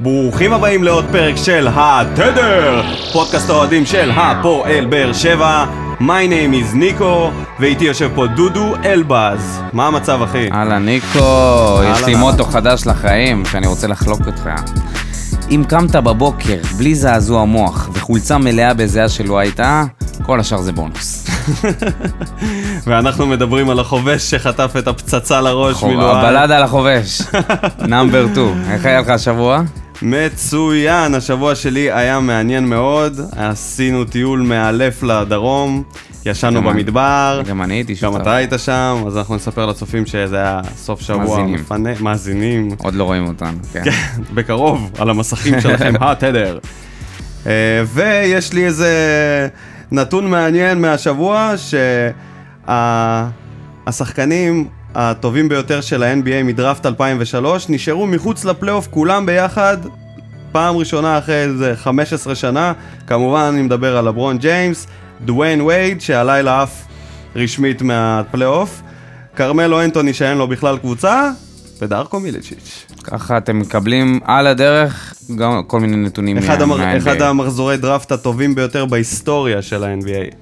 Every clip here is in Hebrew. ברוכים הבאים לעוד פרק של התדר, פודקאסט האוהדים של הפועל באר שבע. My name is ניקו, ואיתי יושב פה דודו אלבז. מה המצב, אחי? אהלן ניקו, יש לי אהלן. מוטו חדש לחיים שאני רוצה לחלוק אותך. אם קמת בבוקר בלי זעזוע מוח וחולצה מלאה בזיעה שלא הייתה, כל השאר זה בונוס. ואנחנו מדברים על החובש שחטף את הפצצה לראש מלואל. הבלד על החובש, נאמבר 2. איך היה לך השבוע? מצוין, השבוע שלי היה מעניין מאוד. עשינו טיול מאלף לדרום, ישנו גם- במדבר. גם אני הייתי שותף. גם אתה היית שם, אז אנחנו נספר לצופים שזה היה סוף שבוע מאזינים. מפנה, מאזינים, עוד לא רואים אותנו, כן. בקרוב, על המסכים שלכם, התדר. אה, ויש לי איזה נתון מעניין מהשבוע, שהשחקנים הטובים ביותר של ה-NBA מדראפט 2003 נשארו מחוץ לפלייאוף כולם ביחד. פעם ראשונה אחרי איזה 15 שנה, כמובן אני מדבר על לברון ג'יימס, דוויין וייד שהלילה עף רשמית מהפלייאוף, כרמלו אנטוני שאין לו בכלל קבוצה, ודארקו מיליצ'יץ'. ככה אתם מקבלים על הדרך גם כל מיני נתונים אחד, מה- המר... מה-NBA. אחד המחזורי דראפט הטובים ביותר בהיסטוריה של ה-NBA.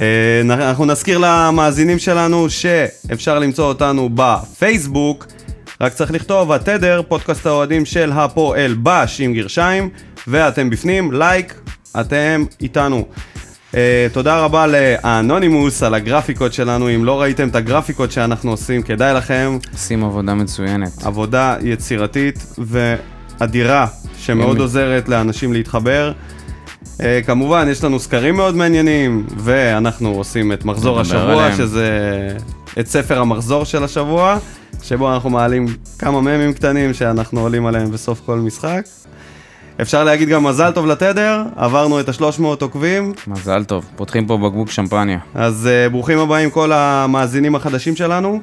אה, נ- אנחנו נזכיר למאזינים שלנו שאפשר למצוא אותנו בפייסבוק, רק צריך לכתוב התדר, פודקאסט האוהדים של הפועל בש עם גרשיים, ואתם בפנים, לייק, אתם איתנו. Uh, תודה רבה לאנונימוס על הגרפיקות שלנו, אם לא ראיתם את הגרפיקות שאנחנו עושים, כדאי לכם, עושים עבודה מצוינת. עבודה יצירתית ואדירה, שמאוד ימי. עוזרת לאנשים להתחבר. אה, כמובן, יש לנו סקרים מאוד מעניינים, ואנחנו עושים את מחזור נדבר השבוע, עליהם. שזה... את ספר המחזור של השבוע, שבו אנחנו מעלים כמה ממים קטנים שאנחנו עולים עליהם בסוף כל משחק. אפשר להגיד גם מזל טוב לתדר, עברנו את ה-300 עוקבים, מזל טוב, פותחים פה בקבוק שמפניה. אז uh, ברוכים הבאים כל המאזינים החדשים שלנו.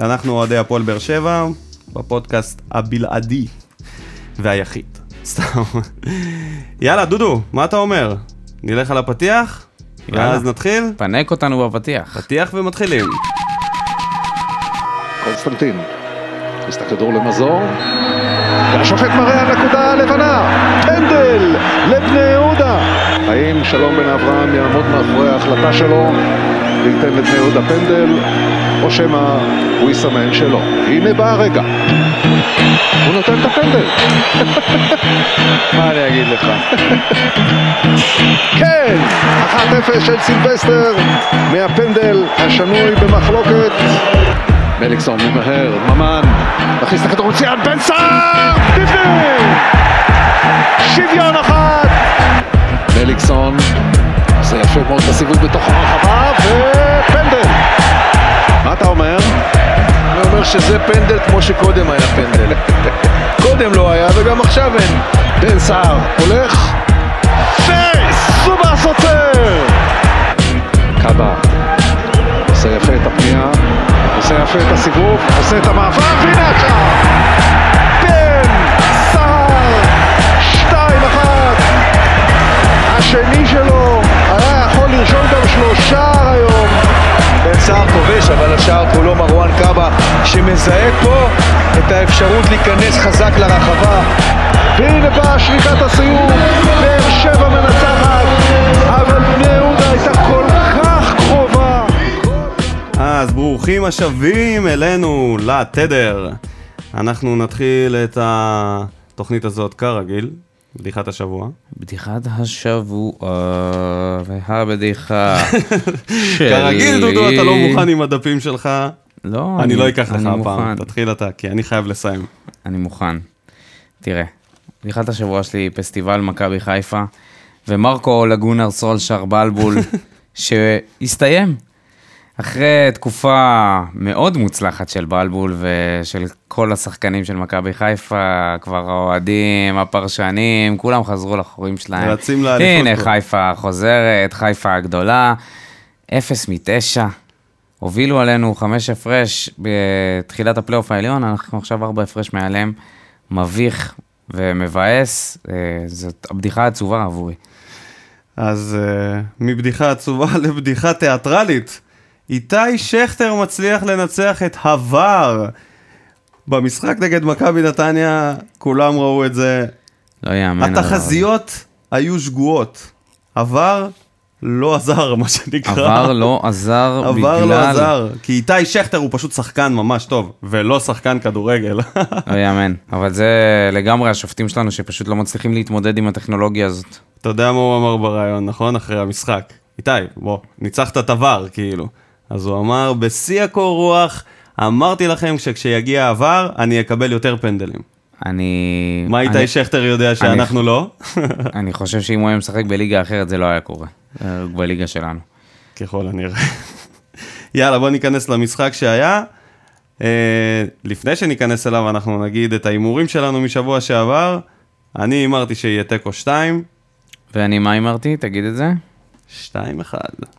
אנחנו אוהדי הפועל באר שבע, בפודקאסט הבלעדי והיחיד. סתם. יאללה, דודו, מה אתה אומר? נלך על הפתיח, יאללה. ואז נתחיל? פנק אותנו בפתיח. פתיח ומתחילים. קונסטנטין, יש את הכדור למזור, והשופט מראה על נקודה לבנה, פנדל לבני יהודה. האם שלום בן אברהם יעמוד מאחורי ההחלטה שלו וייתן לבני יהודה פנדל, או שמא הוא יסמן שלא? הנה בא הרגע, הוא נותן את הפנדל. מה אני אגיד לך? כן, 1-0 של סילבסטר מהפנדל השנוי במחלוקת. מליקסון ממהר, ממן, מכניס את הכדור מצוין, בן סער! בפנים! שוויון אחת! מליקסון, זה יפה מאוד את הסיבוב בתוך הרחבה, ופנדל! מה אתה אומר? אני אומר שזה פנדל כמו שקודם היה פנדל. קודם לא היה וגם עכשיו אין. בן סער הולך, וסובה סוצר! קאבה, עושה יפה את הפנייה, עושה יפה את הסיבוב, עושה את המעבר, והנה השער! בן סער, 2-1! השני שלו היה יכול לרשום גם שלושה היום. בן סער כובש, אבל השער כולו מרואן קאבה, שמזהה פה את האפשרות להיכנס חזק לרחבה. והנה באה שריקת הסיום, באר שבע מנצחת, אבל בני יהודה הייתה כל כך קרובה. אז ברוכים השבים אלינו לתדר. אנחנו נתחיל את התוכנית הזאת כרגיל, בדיחת השבוע. בדיחת השבוע והבדיחה כן. שלי. כרגיל, דודו, אתה לא מוכן עם הדפים שלך. לא, אני לא אקח לך אני הפעם, מוכן, תתחיל אתה, כי אני חייב לסיים. אני מוכן. תראה, בדיחת השבוע שלי היא פסטיבל מכבי חיפה, ומרקו לגונר סולשר בלבול, שהסתיים. אחרי תקופה מאוד מוצלחת של בלבול ושל כל השחקנים של מכבי חיפה, כבר האוהדים, הפרשנים, כולם חזרו לחורים שלהם. רצים לאליפות הנה כבר. חיפה חוזרת, חיפה הגדולה, אפס מתשע. הובילו עלינו חמש הפרש בתחילת הפלייאוף העליון, אנחנו עכשיו ארבע הפרש מעליהם. מביך ומבאס, אה, זאת הבדיחה העצובה עבורי. אז uh, מבדיחה עצובה לבדיחה תיאטרלית. איתי שכטר מצליח לנצח את הוואר. במשחק נגד מכבי נתניה, כולם ראו את זה. לא יאמן. הדבר הזה. התחזיות היו שגויות. עבר לא עזר, מה שנקרא. עבר לא עזר בגלל... עבר לא עזר, כי איתי שכטר הוא פשוט שחקן ממש טוב, ולא שחקן כדורגל. לא יאמן. אבל זה לגמרי השופטים שלנו שפשוט לא מצליחים להתמודד עם הטכנולוגיה הזאת. אתה יודע מה הוא אמר בריאיון, נכון? אחרי המשחק. איתי, בוא, ניצחת את הוואר, כאילו. אז הוא אמר, בשיא הקור רוח, אמרתי לכם שכשיגיע הוואר, אני אקבל יותר פנדלים. אני... מה אני- איתי שכטר יודע שאנחנו לא? אני חושב שאם הוא היה משחק בליגה אחרת זה לא היה קורה. אה, רק בליגה שלנו. ככל הנראה. יאללה, בוא ניכנס למשחק שהיה. אה, לפני שניכנס אליו, אנחנו נגיד את ההימורים שלנו משבוע שעבר. אני הימרתי שיהיה תיקו 2, ואני, מה הימרתי? תגיד את זה. 2-1.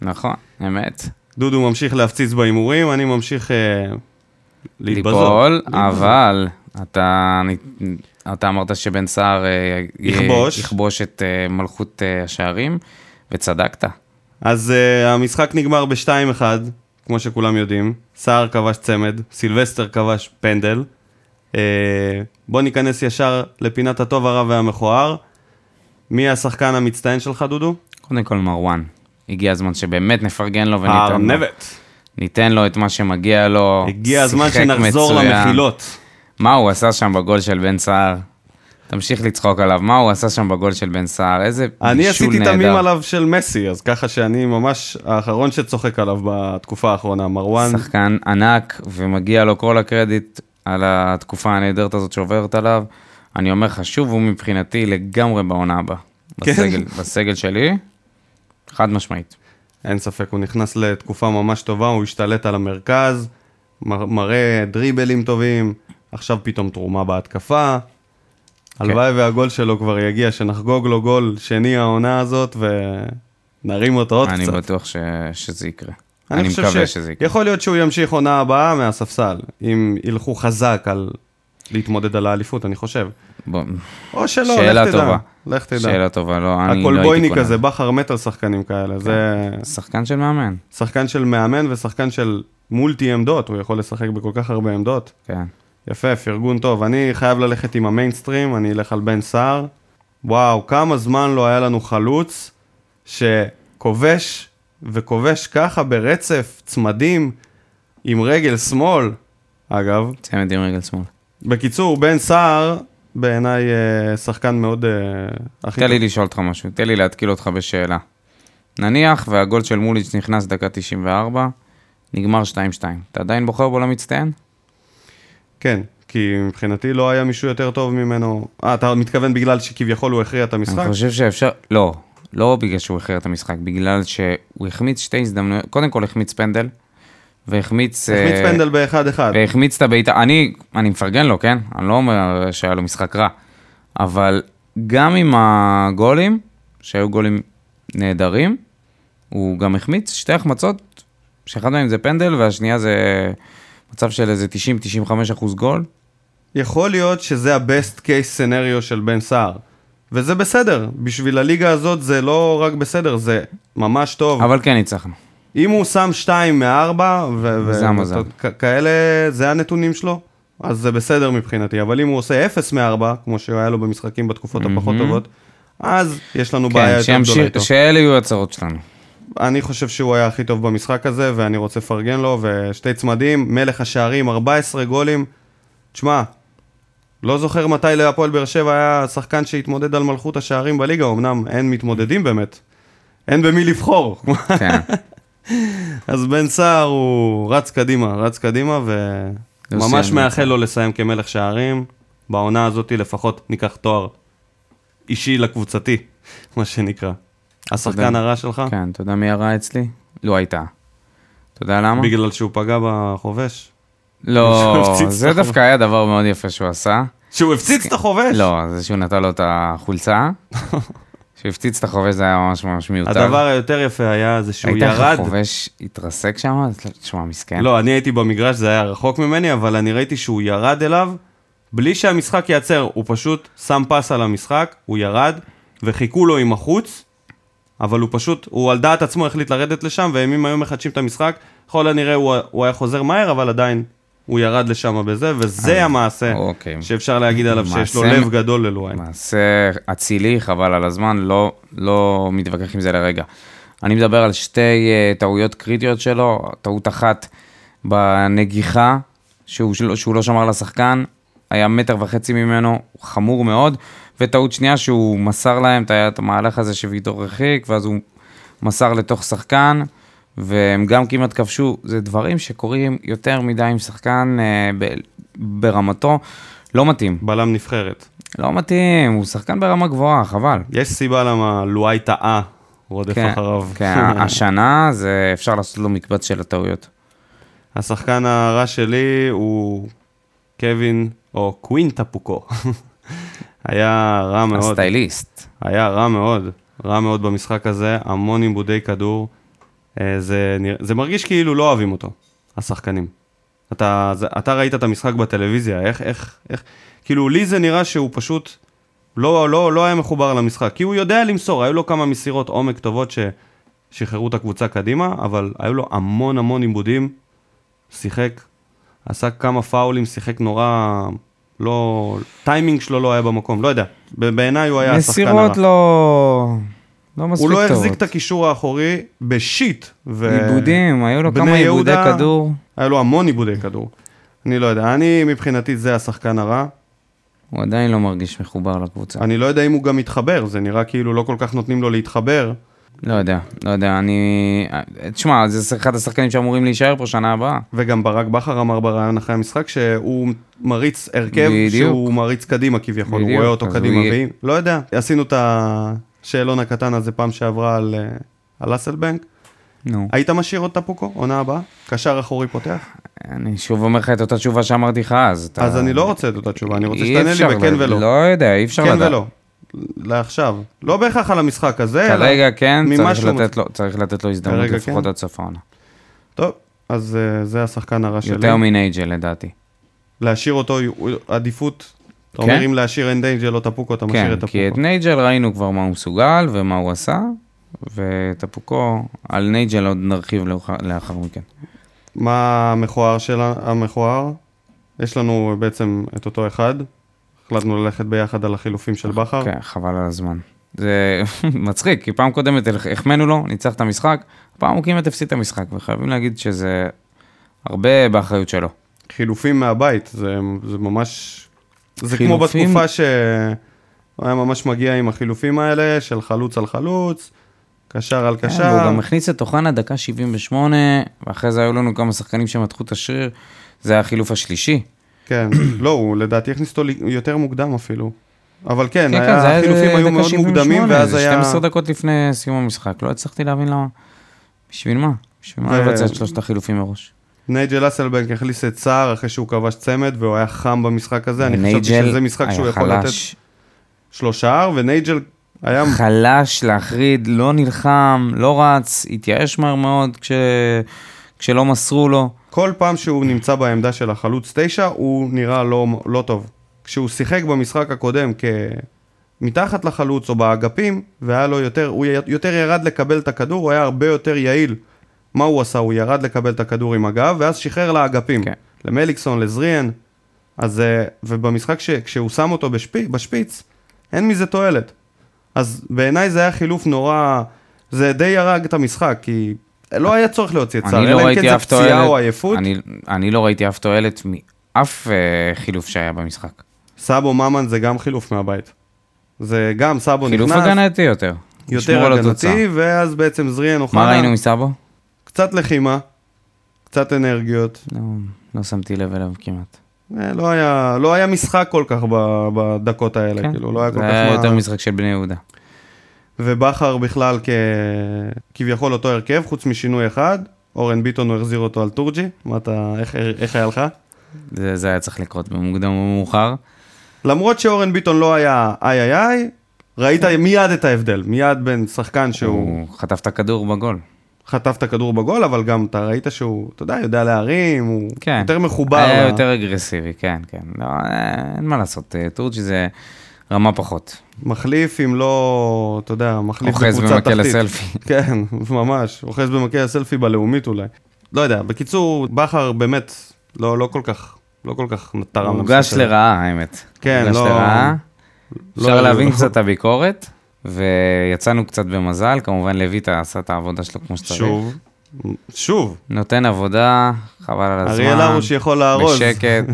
נכון, אמת. דודו ממשיך להפציץ בהימורים, אני ממשיך אה, להתבזות. ליפול, אבל אתה, אתה אמרת שבן סער אה, יכבוש. יכבוש את אה, מלכות אה, השערים, וצדקת. אז uh, המשחק נגמר ב-2-1, כמו שכולם יודעים. סער כבש צמד, סילבסטר כבש פנדל. Uh, בוא ניכנס ישר לפינת הטוב, הרע והמכוער. מי השחקן המצטיין שלך, דודו? קודם כל מרואן, הגיע הזמן שבאמת נפרגן לו אה, וניתן לו, הארנבת. ניתן לו את מה שמגיע לו. הגיע הזמן שיחק שנחזור מצוין. למחילות. מה הוא עשה שם בגול של בן סער? תמשיך לצחוק עליו, מה הוא עשה שם בגול של בן סער? איזה בישול נהדר. אני עשיתי את המים עליו של מסי, אז ככה שאני ממש האחרון שצוחק עליו בתקופה האחרונה. מרואן, שחקן ענק, ומגיע לו כל הקרדיט על התקופה הנהדרת הזאת שעוברת עליו. אני אומר לך, שוב, הוא מבחינתי לגמרי בעונה הבאה. כן. בסגל, בסגל שלי, חד משמעית. אין ספק, הוא נכנס לתקופה ממש טובה, הוא השתלט על המרכז, מר, מראה דריבלים טובים, עכשיו פתאום תרומה בהתקפה. כן. הלוואי והגול שלו כבר יגיע, שנחגוג לו גול שני העונה הזאת ונרים אותו עוד אני קצת. בטוח ש... שזה יקרה. אני, מקווה שזה יקרה. יכול להיות שהוא ימשיך עונה הבאה מהספסל, אם ילכו חזק על להתמודד על האליפות, אני חושב. בוא, או שלא, שאלה לך תדע. טובה. לך תדע. שאלה טובה, לא, אני לא הייתי הכולבויני קונה. כזה, בכר מת על שחקנים כאלה, זה... שחקן של מאמן, שחקן של מאמן ושחקן של מולטי עמדות, הוא יכול לשחק בכל כך הרבה עמדות. כן. יפה, פרגון טוב. אני חייב ללכת עם המיינסטרים, אני אלך על בן סער. וואו, כמה זמן לא היה לנו חלוץ שכובש וכובש ככה ברצף, צמדים, עם רגל שמאל, אגב. צמד עם רגל שמאל. כן. בקיצור, בן סער, בעיניי אה, שחקן מאוד אה, הכי תן טוב. לי לשאול אותך משהו, תן לי להתקיל אותך בשאלה. נניח והגול של מוליץ' נכנס דקה 94, נגמר 2-2. אתה עדיין בוחר בו למצטיין? כן, כי מבחינתי לא היה מישהו יותר טוב ממנו. אה, אתה מתכוון בגלל שכביכול הוא הכריע את המשחק? אני חושב שאפשר, לא, לא בגלל שהוא איחר את המשחק, בגלל שהוא החמיץ שתי הזדמנויות, קודם כל החמיץ פנדל, והחמיץ... החמיץ אה, פנדל באחד-אחד. והחמיץ את הבעיטה, אני, אני מפרגן לו, כן? אני לא אומר שהיה לו משחק רע, אבל גם עם הגולים, שהיו גולים נהדרים, הוא גם החמיץ שתי החמצות, שאחד מהם זה פנדל והשנייה זה מצב של איזה 90-95 אחוז גול. יכול להיות שזה ה-best case scenario של בן סער. וזה בסדר, בשביל הליגה הזאת זה לא רק בסדר, זה ממש טוב. אבל... אבל כן ניצחנו. אם הוא שם 2 מ-4, ו- ו- וזה המזל. כ- כאלה, זה הנתונים שלו, אז זה בסדר מבחינתי. אבל אם הוא עושה 0 מ-4, כמו שהיה לו במשחקים בתקופות הפחות טובות, אז יש לנו בעיה כן, יותר גדולה שימשיך, איתו. שאלה יהיו הצרות שלנו. אני חושב שהוא היה הכי טוב במשחק הזה, ואני רוצה לפרגן לו, ושתי צמדים, מלך השערים, 14 גולים. תשמע, לא זוכר מתי להפועל באר שבע היה שחקן שהתמודד על מלכות השערים בליגה, אמנם אין מתמודדים באמת, אין במי לבחור. כן. אז בן סער הוא רץ קדימה, רץ קדימה, וממש יוסי, מאחל לו לסיים כמלך שערים. בעונה הזאת לפחות ניקח תואר אישי לקבוצתי, מה שנקרא. השחקן הרע שלך? כן, אתה יודע מי הרע אצלי? לא הייתה. אתה יודע למה? בגלל שהוא פגע בחובש? שהוא לא, הפציץ זה את דווקא היה דבר מאוד יפה שהוא עשה. שהוא הפציץ את החובש? לא, זה שהוא נתן לו את החולצה, שהוא הפציץ את החובש זה היה ממש ממש מיותר. הדבר היותר יפה היה זה שהוא ראית איך ירד. החובש התרסק שם? תשמע, מסכן. לא, אני הייתי במגרש, זה היה רחוק ממני, אבל אני ראיתי שהוא ירד אליו, בלי שהמשחק ייעצר, הוא פשוט שם פס על המשחק, הוא ירד, וחיכו לו עם החוץ, אבל הוא פשוט, הוא על דעת עצמו החליט לרדת לשם, והם אם היו מחדשים את המשחק, ככל הנראה הוא, הוא היה חוזר מהר, אבל עדיין הוא ירד לשם בזה, וזה המעשה אה, אוקיי. שאפשר להגיד עליו שיש לו מעשה- לב גדול ללואן. מעשה אצילי, חבל על הזמן, לא, לא מתווכח עם זה לרגע. אני מדבר על שתי אה, טעויות קריטיות שלו, טעות אחת בנגיחה, שהוא, שלא- שהוא לא שמר לשחקן, היה מטר וחצי ממנו, חמור מאוד, וטעות שנייה שהוא מסר להם את ה- את המהלך הזה שוויטור הרחיק, ואז הוא מסר לתוך שחקן, והם גם כמעט כבשו, זה דברים שקורים יותר מדי עם שחקן אה, ב- ברמתו, לא מתאים. בלם נבחרת. לא מתאים, הוא שחקן ברמה גבוהה, חבל. יש סיבה למה לואי טעה, הוא רודף כן, אחריו. כן, השנה זה אפשר לעשות לו מקבץ של הטעויות. השחקן הרע שלי הוא קווין, או קווינטפוקו. היה רע מאוד. הסטייליסט. היה רע מאוד, רע מאוד במשחק הזה, המון עיבודי כדור. אה, זה, נרא- זה מרגיש כאילו לא אוהבים אותו, השחקנים. אתה, זה, אתה ראית את המשחק בטלוויזיה, איך, איך, איך, כאילו לי זה נראה שהוא פשוט לא, לא, לא היה מחובר למשחק, כי הוא יודע למסור, היו לו כמה מסירות עומק טובות ששחררו את הקבוצה קדימה, אבל היו לו המון המון עיבודים, שיחק, עשה כמה פאולים, שיחק נורא, לא, טיימינג שלו לא היה במקום, לא יודע, ב- בעיניי הוא היה השחקן הרע. מסירות לא... לא מספיק הוא טובות. לא החזיק את הקישור האחורי בשיט. ו... עיבודים, היו לו בני כמה עיבודי יהודה- כדור. היה לו המון עיבודי כדור. אני לא יודע, אני מבחינתי זה השחקן הרע. הוא עדיין לא מרגיש מחובר לקבוצה. אני לא יודע אם הוא גם מתחבר, זה נראה כאילו לא כל כך נותנים לו להתחבר. לא יודע, לא יודע, אני... תשמע, זה אחד השחקנים שאמורים להישאר פה שנה הבאה. וגם ברק בכר אמר ברעיון אחרי המשחק שהוא מריץ הרכב בדיוק. שהוא מריץ קדימה כביכול, הוא בדיוק, רואה אותו אז הוא קדימה יהיה. ואם, לא יודע. עשינו את השאלון הקטן הזה פעם שעברה על, אה, על אסלבנק. נו. היית משאיר אותה פוקו, עונה הבאה? קשר אחורי פותח? אני שוב אומר לך את אותה תשובה שאמרתי לך אז. אתה- אז אני לא רוצה את אותה תשובה, אני רוצה אה, אי שתענה לי אפשר בכן ל- ולא. לא יודע, אי אפשר לדעת. כן ולא. לעכשיו. לא בהכרח על המשחק הזה, אלא כרגע כן, אה, לא. ממה צריך שהוא לתת, לו, צריך לתת לו הזדמנות כרגע לפחות כן. עד סוף העונה. טוב, אז אה, זה השחקן הרע שלי. יותר מנייג'ל לדעתי. להשאיר אותו הוא- עדיפות. אתה כן? אומר אם להשאיר אין דיינג'ל או טפוקו, אתה משאיר את כן, כי טפוקו. את נייג'ל ראינו כבר מה הוא מסוגל ומה הוא עשה, וטפוקו, על נייג'ל עוד נרחיב לאוח- לאחר מכן. מה המכוער של ה- המכוער? יש לנו בעצם את אותו אחד. החלטנו ללכת ביחד על החילופים של בכר. כן, חבל על הזמן. זה מצחיק, כי פעם קודמת הח- החמאנו לו, ניצח את המשחק, פעם הוא כמעט הפסיד את המשחק, וחייבים להגיד שזה הרבה באחריות שלו. חילופים מהבית, זה, זה ממש... זה כמו חילופים- בתקופה שהוא היה ממש מגיע עם החילופים האלה של חלוץ על חלוץ, קשר על כן, קשר. והוא גם הכניס את אוחנה דקה 78, ואחרי זה היו לנו כמה שחקנים שמתחו את השריר, זה היה החילוף השלישי. כן, לא, הוא לדעתי הכניס אותו לי- יותר מוקדם אפילו. אבל כן, כן, כן, זה היה- היה החילופים איזה היו דקה מאוד 78, מוקדמים, ואז זה היה... 12 דקות לפני סיום המשחק, לא הצלחתי להבין למה. בשביל מה? בשביל מה ו- לבצע את שלושת החילופים מראש? נייג'ל אסלבנק החליס את סער אחרי שהוא כבש צמד, והוא היה חם במשחק הזה, אני חשבתי נייג'ל שזה משחק היה שהוא יכול לתת חלש, שלושה, ונייג'ל היה... חלש להחריד, לא נלחם, לא רץ, התייאש מהר מאוד כש... כשלא מסרו לו. כל פעם שהוא נמצא בעמדה של החלוץ 9, הוא נראה לא, לא טוב. כשהוא שיחק במשחק הקודם כ... מתחת לחלוץ או באגפים, והיה לו יותר, הוא י- יותר ירד לקבל את הכדור, הוא היה הרבה יותר יעיל. מה הוא עשה? הוא ירד לקבל את הכדור עם הגב, ואז שחרר לאגפים. כן. למליקסון, לזריאן. אז, אה, ובמשחק ש... כשהוא שם אותו בשפי... בשפיץ, אין מזה תועלת. אז בעיניי זה היה חילוף נורא, זה די הרג את המשחק, כי לא היה צורך להוציא את צער, אני לא אלא אם ראיתי כן אף זה פציעה תועלת, או עייפות. אני, אני לא ראיתי אף תועלת מאף אה, חילוף שהיה במשחק. סאבו ממן זה גם חילוף מהבית. זה גם סאבו חילוף נכנס, הגנתי יותר. לשמור יותר על התוצאה. הגנתי, ואז בעצם זריאן מה אוחנה, ראינו מסבו? קצת לחימה, קצת אנרגיות. לא, לא שמתי לב אליו כמעט. אה, לא היה, לא היה משחק כל כך ב- בדקות האלה, כן. כאילו, לא היה כל זה כך היה מה... יותר משחק של בני יהודה. ובכר בכלל כ... כביכול אותו הרכב, חוץ משינוי אחד, אורן ביטון הוא החזיר אותו על תורג'י, מה אתה, איך, איך היה לך? זה, זה היה צריך לקרות במוקדם או במאוחר. למרות שאורן ביטון לא היה איי איי איי, ראית מיד את ההבדל, מיד בין שחקן שהוא הוא חטף את הכדור בגול. חטף את הכדור בגול, אבל גם אתה ראית שהוא, אתה יודע, יודע להרים, הוא כן. יותר מחובר. אה? היה ל- יותר אגרסיבי, כן, כן. לא, אה, אין מה לעשות, אה, טורג'י זה רמה פחות. מחליף אם לא, אתה יודע, מחליף אוחז בקבוצה במקל תחתית. הסלפי. כן, ממש, אוחז במקל הסלפי בלאומית אולי. לא יודע, בקיצור, בכר באמת לא, לא כל כך, לא כל כך תרם הוא למשחק הוגש הזה. לרעה, האמת. כן, הוגש לא- לרעה. לא- אפשר להבין קצת את הביקורת, ויצאנו קצת במזל, כמובן לויטה עשה את העבודה שלו כמו שצריך. שוב, שוב, נותן עבודה, חבל על הזמן. אריאל הרוש יכול לארוז. בשקט.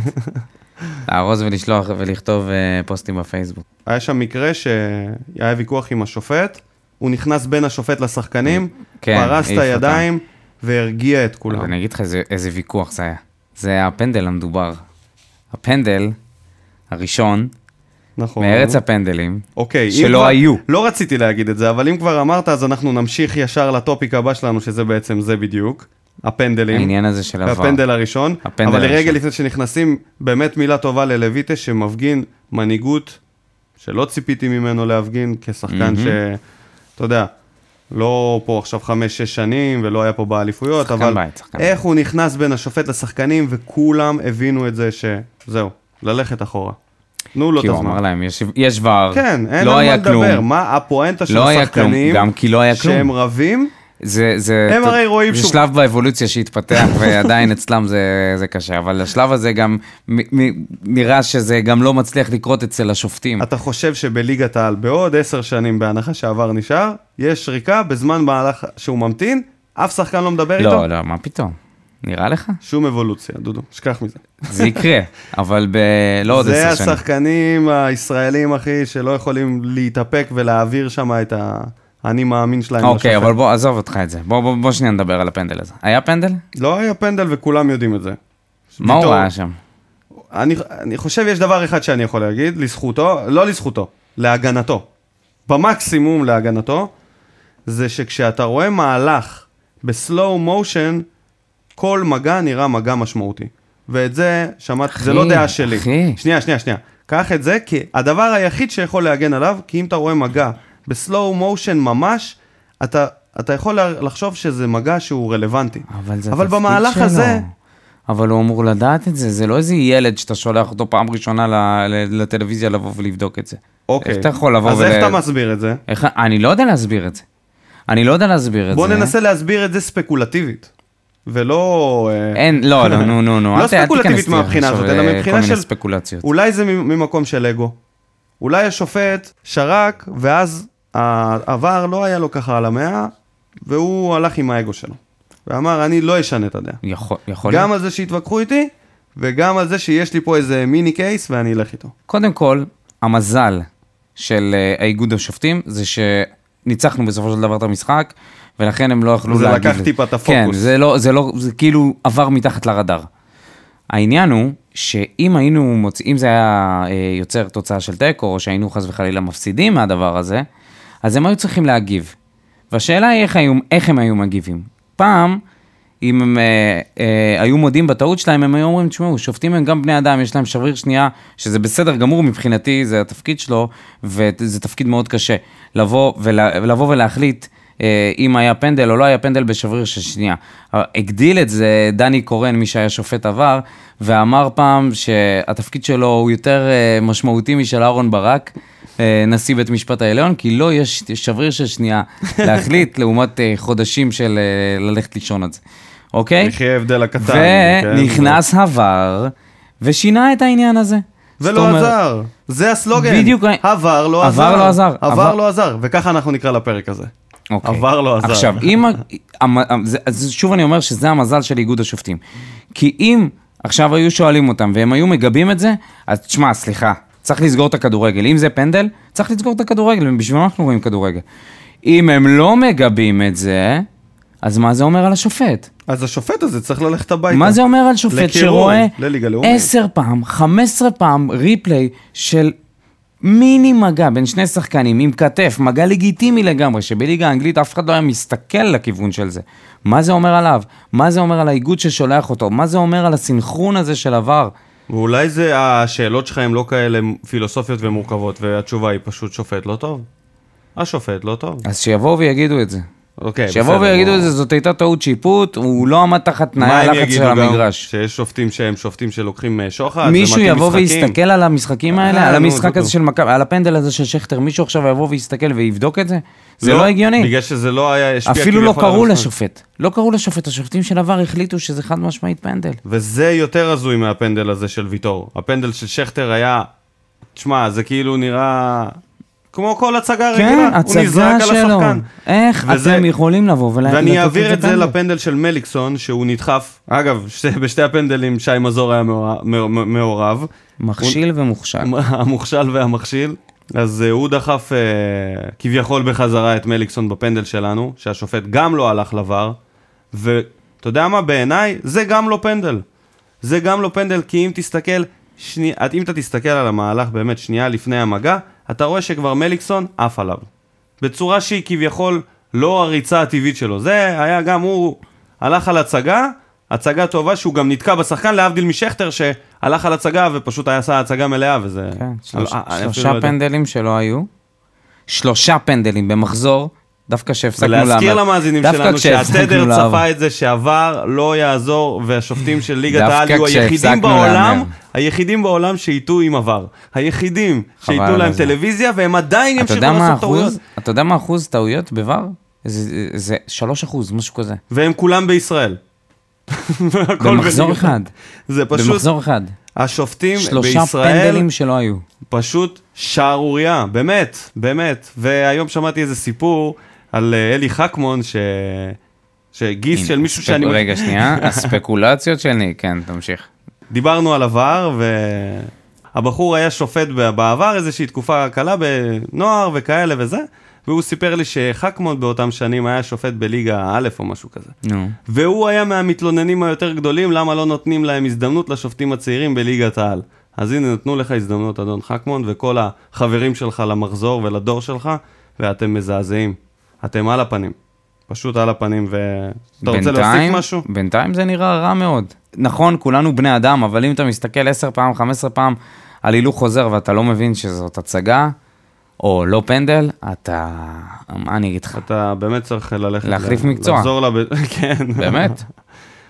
לארוז ולשלוח ולכתוב אה, פוסטים בפייסבוק. היה שם מקרה שהיה ויכוח עם השופט, הוא נכנס בין השופט לשחקנים, כן, פרס את העיף הידיים והרגיע את אבל כולם. אני אגיד לך איזה, איזה ויכוח זה היה. זה היה הפנדל המדובר. הפנדל הראשון, נכון. מארץ הפנדלים, אוקיי, אם שלא כבר- היו. לא רציתי להגיד את זה, אבל אם כבר אמרת, אז אנחנו נמשיך ישר לטופיק הבא שלנו, שזה בעצם זה בדיוק, הפנדלים. העניין הזה של עבר. הפנדל הראשון. נכון. הפנדל אבל לרגע הראשון. לפני שנכנסים, באמת מילה טובה ללויטה, שמפגין מנהיגות שלא ציפיתי ממנו להפגין, כשחקן ש... אתה יודע, לא פה עכשיו חמש-שש שנים, ולא היה פה באליפויות, שחקן אבל בית, שחקן איך הוא נכנס בין השופט לשחקנים, וכולם הבינו את זה שזהו, ללכת אחורה. תנו לו את כי הוא אמר הזמן. להם, יש- יש ור, לא כן, אין לא על מה היה כלום. לדבר, מה הפואנטה של לא היה כלום, השחקנים, גם כי לא היה כלום. שהם רבים, זה, זה, הם הרי רואים זה שהוא- שלב באבולוציה שהתפתח ועדיין אצלם זה, זה קשה, אבל השלב הזה גם מ, מ, נראה שזה גם לא מצליח לקרות אצל השופטים. אתה חושב שבליגת העל בעוד עשר שנים, בהנחה שעבר נשאר, יש שריקה בזמן מהלך שהוא ממתין, אף שחקן לא מדבר איתו? לא, לא, מה פתאום? נראה לך? שום אבולוציה, דודו, שכח מזה. זה יקרה, אבל ב... לא עוד זה עשר שנים. השחקנים הישראלים, אחי, שלא יכולים להתאפק ולהעביר שם את ה... אני מאמין שלהם. אוקיי, לשופט. אבל בוא, עזוב אותך את זה. בוא, בוא, בוא שנייה נדבר על הפנדל הזה. היה פנדל? לא היה פנדל וכולם יודעים את זה. מה הוא פתאום- ראה שם? אני, אני חושב יש דבר אחד שאני יכול להגיד, לזכותו, לא לזכותו, להגנתו. במקסימום להגנתו, זה שכשאתה רואה מהלך בסלואו מושן, כל מגע נראה מגע משמעותי. ואת זה שמעת, זה לא דעה שלי. אחי. שנייה, שנייה, שנייה. קח את זה כי הדבר היחיד שיכול להגן עליו, כי אם אתה רואה מגע בסלואו מושן ממש, אתה, אתה יכול לחשוב שזה מגע שהוא רלוונטי. אבל זה אבל התפקיד במהלך שלו. הזה, אבל הוא אמור לדעת את זה, זה לא איזה ילד שאתה שולח אותו פעם ראשונה ל- ל- לטלוויזיה לבוא ולבדוק את זה. אוקיי. איך אתה יכול לבוא אז ול- איך אתה מסביר את זה? איך... אני לא יודע להסביר את זה. אני לא יודע להסביר את בוא זה. ננסה להסביר את זה ספקולטיבית. ולא... אה, אין, לא, לא, נו, נו, נו. לא אל ת- אל ספקולטיבית תיכנס לי מהבחינה עכשיו הזאת, אלא ל- כל מבחינה מיני של... ספקולציות. אולי זה מ- ממקום של אגו. אולי השופט שרק, ואז העבר לא היה לו ככה על המאה, והוא הלך עם האגו שלו. ואמר, אני לא אשנה את הדעה. יכול יכול להיות. גם על זה שהתווכחו איתי, וגם על זה שיש לי פה איזה מיני קייס ואני אלך איתו. קודם כל, המזל של אה, האיגוד השופטים זה שניצחנו בסופו של דבר את המשחק, ולכן הם לא יכלו זה להגיד... לקח טיפה את כן, הפוקוס. זה לא, זה לא, זה כאילו עבר מתחת לרדאר. העניין הוא שאם היינו מוצאים, אם זה היה אה, יוצר תוצאה של תיקו, או שהיינו חס וחלילה מפסידים מהדבר הזה, אז הם היו צריכים להגיב. והשאלה היא איך, היו, איך הם היו מגיבים. פעם, אם הם אה, אה, היו מודים בטעות שלהם, הם היו אומרים, תשמעו, שופטים הם גם בני אדם, יש להם שבריר שנייה, שזה בסדר גמור מבחינתי, זה התפקיד שלו, וזה תפקיד מאוד קשה. לבוא, ולה, לבוא ולהחליט אה, אם היה פנדל או לא היה פנדל בשבריר של שנייה. אה, הגדיל את זה דני קורן, מי שהיה שופט עבר, ואמר פעם שהתפקיד שלו הוא יותר אה, משמעותי משל אהרן ברק. אה, נשיא בית משפט העליון, כי לא יש שבריר של שנייה להחליט לעומת אה, חודשים של אה, ללכת לישון על זה, אוקיי? יחי ההבדל הקטן. כן? ונכנס הוואר ושינה את העניין הזה. ולא זאת אומרת- לא עזר. זה הסלוגן. בדיוק. עבר לא עבר עזר. לא עזר. עבר עבר- לא עזר. וככה אנחנו נקרא לפרק הזה. אוקיי. עבר לא עזר. עכשיו, אם... ה- המ- המ- זה- אז שוב אני אומר שזה המזל של איגוד השופטים. כי אם עכשיו היו שואלים אותם והם היו מגבים את זה, אז תשמע, סליחה, צריך לסגור את הכדורגל. אם זה פנדל, צריך לסגור את הכדורגל, בשביל מה אנחנו רואים כדורגל? אם הם לא מגבים את זה, אז מה זה אומר על השופט? אז השופט הזה צריך ללכת הביתה. מה זה אומר על שופט לקירוי, שרואה לליגה לאומית. 10 פעם, 15 פעם ריפליי של מיני מגע בין שני שחקנים עם כתף, מגע לגיטימי לגמרי, שבליגה האנגלית אף אחד לא היה מסתכל לכיוון של זה. מה זה אומר עליו? מה זה אומר על האיגוד ששולח אותו? מה זה אומר על הסינכרון הזה של עבר? ואולי זה, השאלות שלך הן לא כאלה פילוסופיות ומורכבות, והתשובה היא פשוט שופט לא טוב. השופט לא טוב. אז שיבואו ויגידו את זה. אוקיי, בסדר. שיבואו ויגידו הוא- את זה, זאת הייתה טעות שיפוט, הוא לא עמד תחת תנאי מה הם הלחץ של יגידו גם? המגרש. שיש שופטים שהם שופטים שלוקחים אה, שוחד? מישהו ומכים יבוא משחקים? ויסתכל על המשחקים אה, האלה, על נו, המשחק דודו. הזה של מכבי, על הפנדל הזה של שכטר, מישהו עכשיו יבוא ויסתכל ויבדוק את זה? זה לא הגיוני. בגלל שזה לא היה השפיע אפילו לא כביכול על קראו המשחק. לשופט. לא קראו לשופט, השופטים של עבר החליטו שזה חד משמעית פנדל. וזה יותר הזוי מהפנדל הזה של ויטור. הפנדל של שכטר היה... תשמע, זה כאילו נראה... כמו כל הצגה רגילה, כן, הוא הצגה נזרק על שלו. השחקן. איך וזה- אתם יכולים לבוא ולתת ואני אעביר לזה את זה פנדל? לפנדל של מליקסון, שהוא נדחף. אגב, ש- בשתי הפנדלים שי מזור היה מעורב- מעורב- מעורב. מכשיל ומוכשל. המוכשל והמכשיל. אז אה, הוא דחף אה, כביכול בחזרה את מליקסון בפנדל שלנו, שהשופט גם לא הלך לבר, ואתה יודע מה, בעיניי זה גם לא פנדל. זה גם לא פנדל, כי אם תסתכל, שני, את- אם אתה תסתכל על המהלך באמת שנייה לפני המגע, אתה רואה שכבר מליקסון עף עליו. בצורה שהיא כביכול לא הריצה הטבעית שלו. זה היה גם הוא הלך על הצגה, הצגה טובה שהוא גם נתקע בשחקן, להבדיל משכטר שהלך על הצגה ופשוט היה עשה הצגה מלאה וזה... כן, על- שלוש- אה, אני אפילו שלושה לא יודע. פנדלים שלא היו. שלושה פנדלים במחזור, דווקא שהפסקנו להמר. ולהזכיר למאזינים דווקא שלנו כשהפסקנו שהתדר לעבור. צפה את זה שעבר לא יעזור והשופטים של ליגת דווקא העל יהיו היחידים כשהפסקנו בעולם, להמר. היחידים בעולם שייטו עם עבר. היחידים חבל שייטו על להם הזמן. טלוויזיה והם עדיין אתה ימשיכו יודע מה לעשות טעויות. האחוז? אתה יודע מה אחוז טעויות בVAR? זה- זה 3 אחוז, משהו כזה. והם כולם בישראל. הכל במחזור בליגת- אחד. זה פשוט, במחזור אחד. השופטים שלושה בישראל פנדלים שלא היו. פשוט שערורייה, באמת, באמת. והיום שמעתי איזה סיפור על אה, אלי חכמון, ש... שגיס של מישהו שאני... רגע, שנייה, הספקולציות שלי, כן, תמשיך. דיברנו על עבר, והבחור היה שופט ב- בעבר איזושהי תקופה קלה בנוער וכאלה וזה, והוא סיפר לי שחכמון באותם שנים היה שופט בליגה א' או משהו כזה. נו. והוא היה מהמתלוננים היותר גדולים, למה לא נותנים להם הזדמנות לשופטים הצעירים בליגת העל. אז הנה, נתנו לך הזדמנות, אדון חכמון, וכל החברים שלך למחזור ולדור שלך, ואתם מזעזעים. אתם על הפנים. פשוט על הפנים, ו... אתה רוצה להוסיף בינתיים- משהו? בינתיים זה נראה רע מאוד. נכון, כולנו בני אדם, אבל אם אתה מסתכל 10 פעם, 15 פעם על הילוך חוזר ואתה לא מבין שזאת הצגה, או לא פנדל, אתה... מה אני אגיד לך? אתה באמת צריך ללכת... להחליף ל- מקצוע. לחזור לב... כן. באמת?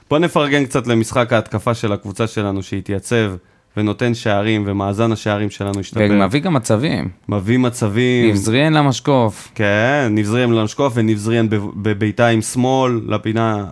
בוא נפרגן קצת למשחק ההתקפה של הקבוצה שלנו שהתייצב ונותן שערים, ומאזן השערים שלנו השתפר. ומביא גם מצבים. מביא מצבים. נבזריאן למשקוף. כן, נבזריאן למשקוף ונבזריאן בב- בביתה עם שמאל לפינה,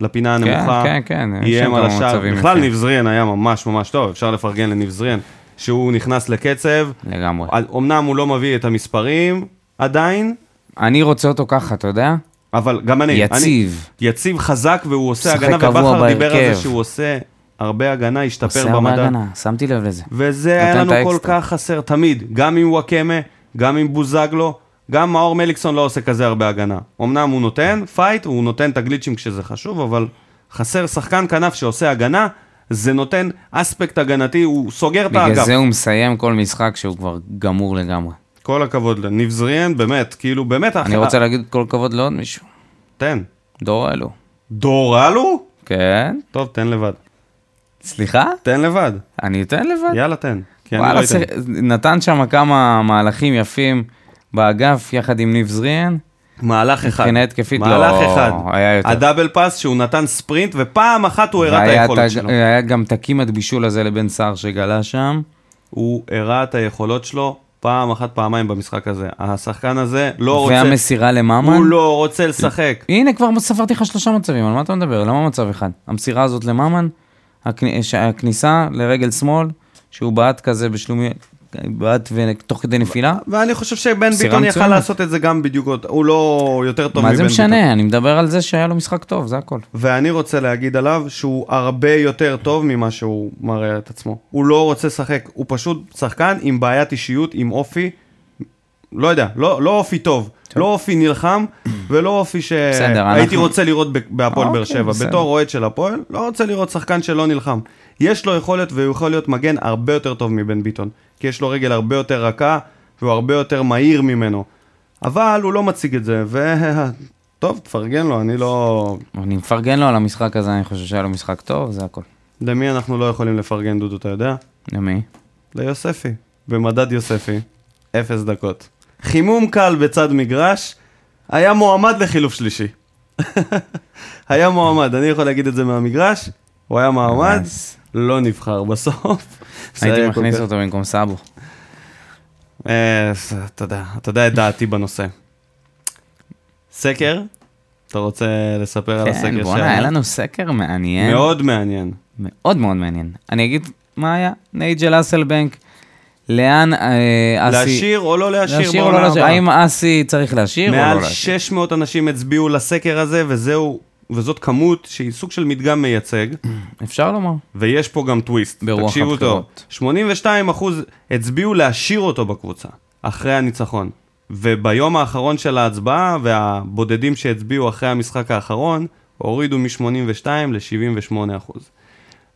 לפינה כן, הנמוכה. כן, כן, יש שם איים על כמה השער. מצבים בכלל יפים. נבזריאן היה ממש ממש טוב, אפשר לפרגן לנבזריאן. שהוא נכנס לקצב, לגמרי. אמנם הוא לא מביא את המספרים עדיין, אני רוצה אותו ככה, אתה יודע? אבל גם אני. יציב. אני, יציב חזק והוא עושה משחק הגנה, קבוע ובכר דיבר על זה בהרכב. שהוא עושה הרבה הגנה, השתפר עושה הרבה במדע. הגנה, שמתי לב לזה. וזה נותן היה את לנו כל האקסטרה. כך חסר תמיד, גם עם וואקמה, גם עם בוזגלו, גם מאור מליקסון לא עושה כזה הרבה הגנה. אמנם הוא נותן פייט, הוא נותן את הגליצ'ים כשזה חשוב, אבל חסר שחקן כנף שעושה הגנה, זה נותן אספקט הגנתי, הוא סוגר את בגלל האגף. זה הוא מסיים כל משחק שהוא כבר גמור לגמרי. כל הכבוד לניב זריאן, באמת, כאילו, באמת, אני רוצה להגיד כל כבוד לעוד מישהו. תן. דור אלו. דורלו? כן? טוב, תן לבד. סליחה? תן לבד. אני אתן לבד. יאללה, תן. כי אני לא וואלה, אתן. סר- נתן שם כמה מהלכים יפים באגף יחד עם ניב זריאן. מהלך אחד. מבחינה התקפית, לא, מהלך אחד. היה יותר. הדאבל פאס שהוא נתן ספרינט, ופעם אחת הוא הראה את והיה היכולות את ה- שלו. היה גם את הכמעט בישול הזה לבן סער שגלה שם. הוא הראה את היכולות שלו פעם אחת, פעמיים במשחק הזה. השחקן הזה לא רוצה... והמסירה לממן. הוא לא רוצה לשחק. הנה, כבר ספרתי לך שלושה מצבים, על מה אתה מדבר? למה מצב אחד? המסירה הזאת לממן, הכני- ש- הכניסה לרגל שמאל, שהוא בעט כזה בשלומי, בעט ותוך כדי נפילה. ואני חושב שבן מסירה ביטון יכל מצוינת. לעשות את זה גם בדיוק, אותו- הוא לא יותר טוב מבן מה ביטון. זה משנה? אני מדבר על זה שהיה לו משחק טוב, זה הכל. ואני רוצה להגיד עליו שהוא הרבה יותר טוב ממה שהוא מראה את עצמו. הוא לא רוצה לשחק, הוא פשוט שחקן עם בעיית אישיות, עם אופי, לא יודע, לא, לא אופי טוב, לא אופי נלחם, ולא אופי בסדר, שהייתי אנחנו- רוצה לראות ב- בהפועל באר אוקיי, שבע. בסדר. בתור אוהד של הפועל, לא רוצה לראות שחקן שלא נלחם. יש לו יכולת והוא יכול להיות מגן הרבה יותר טוב מבן ביטון, כי יש לו רגל הרבה יותר רכה, והוא הרבה יותר מהיר ממנו. אבל הוא לא מציג את זה, ו... טוב, תפרגן לו, אני לא... אני מפרגן לו על המשחק הזה, אני חושב שהיה לו משחק טוב, זה הכל. למי אנחנו לא יכולים לפרגן, דודו, אתה יודע? למי? ליוספי. במדד יוספי, אפס דקות. חימום קל בצד מגרש, היה מועמד לחילוף שלישי. היה מועמד, אני יכול להגיד את זה מהמגרש, הוא היה מועמד, Nice. לא נבחר בסוף. זה הייתי היה כל מכניס כך- אותו במקום סאבו. אה, אתה יודע, אתה יודע את דעתי בנושא. סקר? אתה רוצה לספר על הסקר כן, בואנה, היה לנו סקר מעניין. אה? מאוד מעניין. מאוד מאוד מעניין. אני אגיד מה היה, נייג'ל אסלבנק, לאן אה, אסי... להשאיר או לא להשאיר להשאיר או לא בעונה להשאיר? הבאה? האם אסי צריך להשאיר או מעל לא להשאיר? 600 אנשים הצביעו לסקר הזה, וזהו, וזאת כמות שהיא סוג של מדגם מייצג, אפשר לומר. ויש פה גם טוויסט. ברוח תקשיבו טוב, הבחירות. 82 אחוז הצביעו להשאיר אותו בקבוצה, אחרי הניצחון. וביום האחרון של ההצבעה, והבודדים שהצביעו אחרי המשחק האחרון, הורידו מ-82 ל-78 אחוז.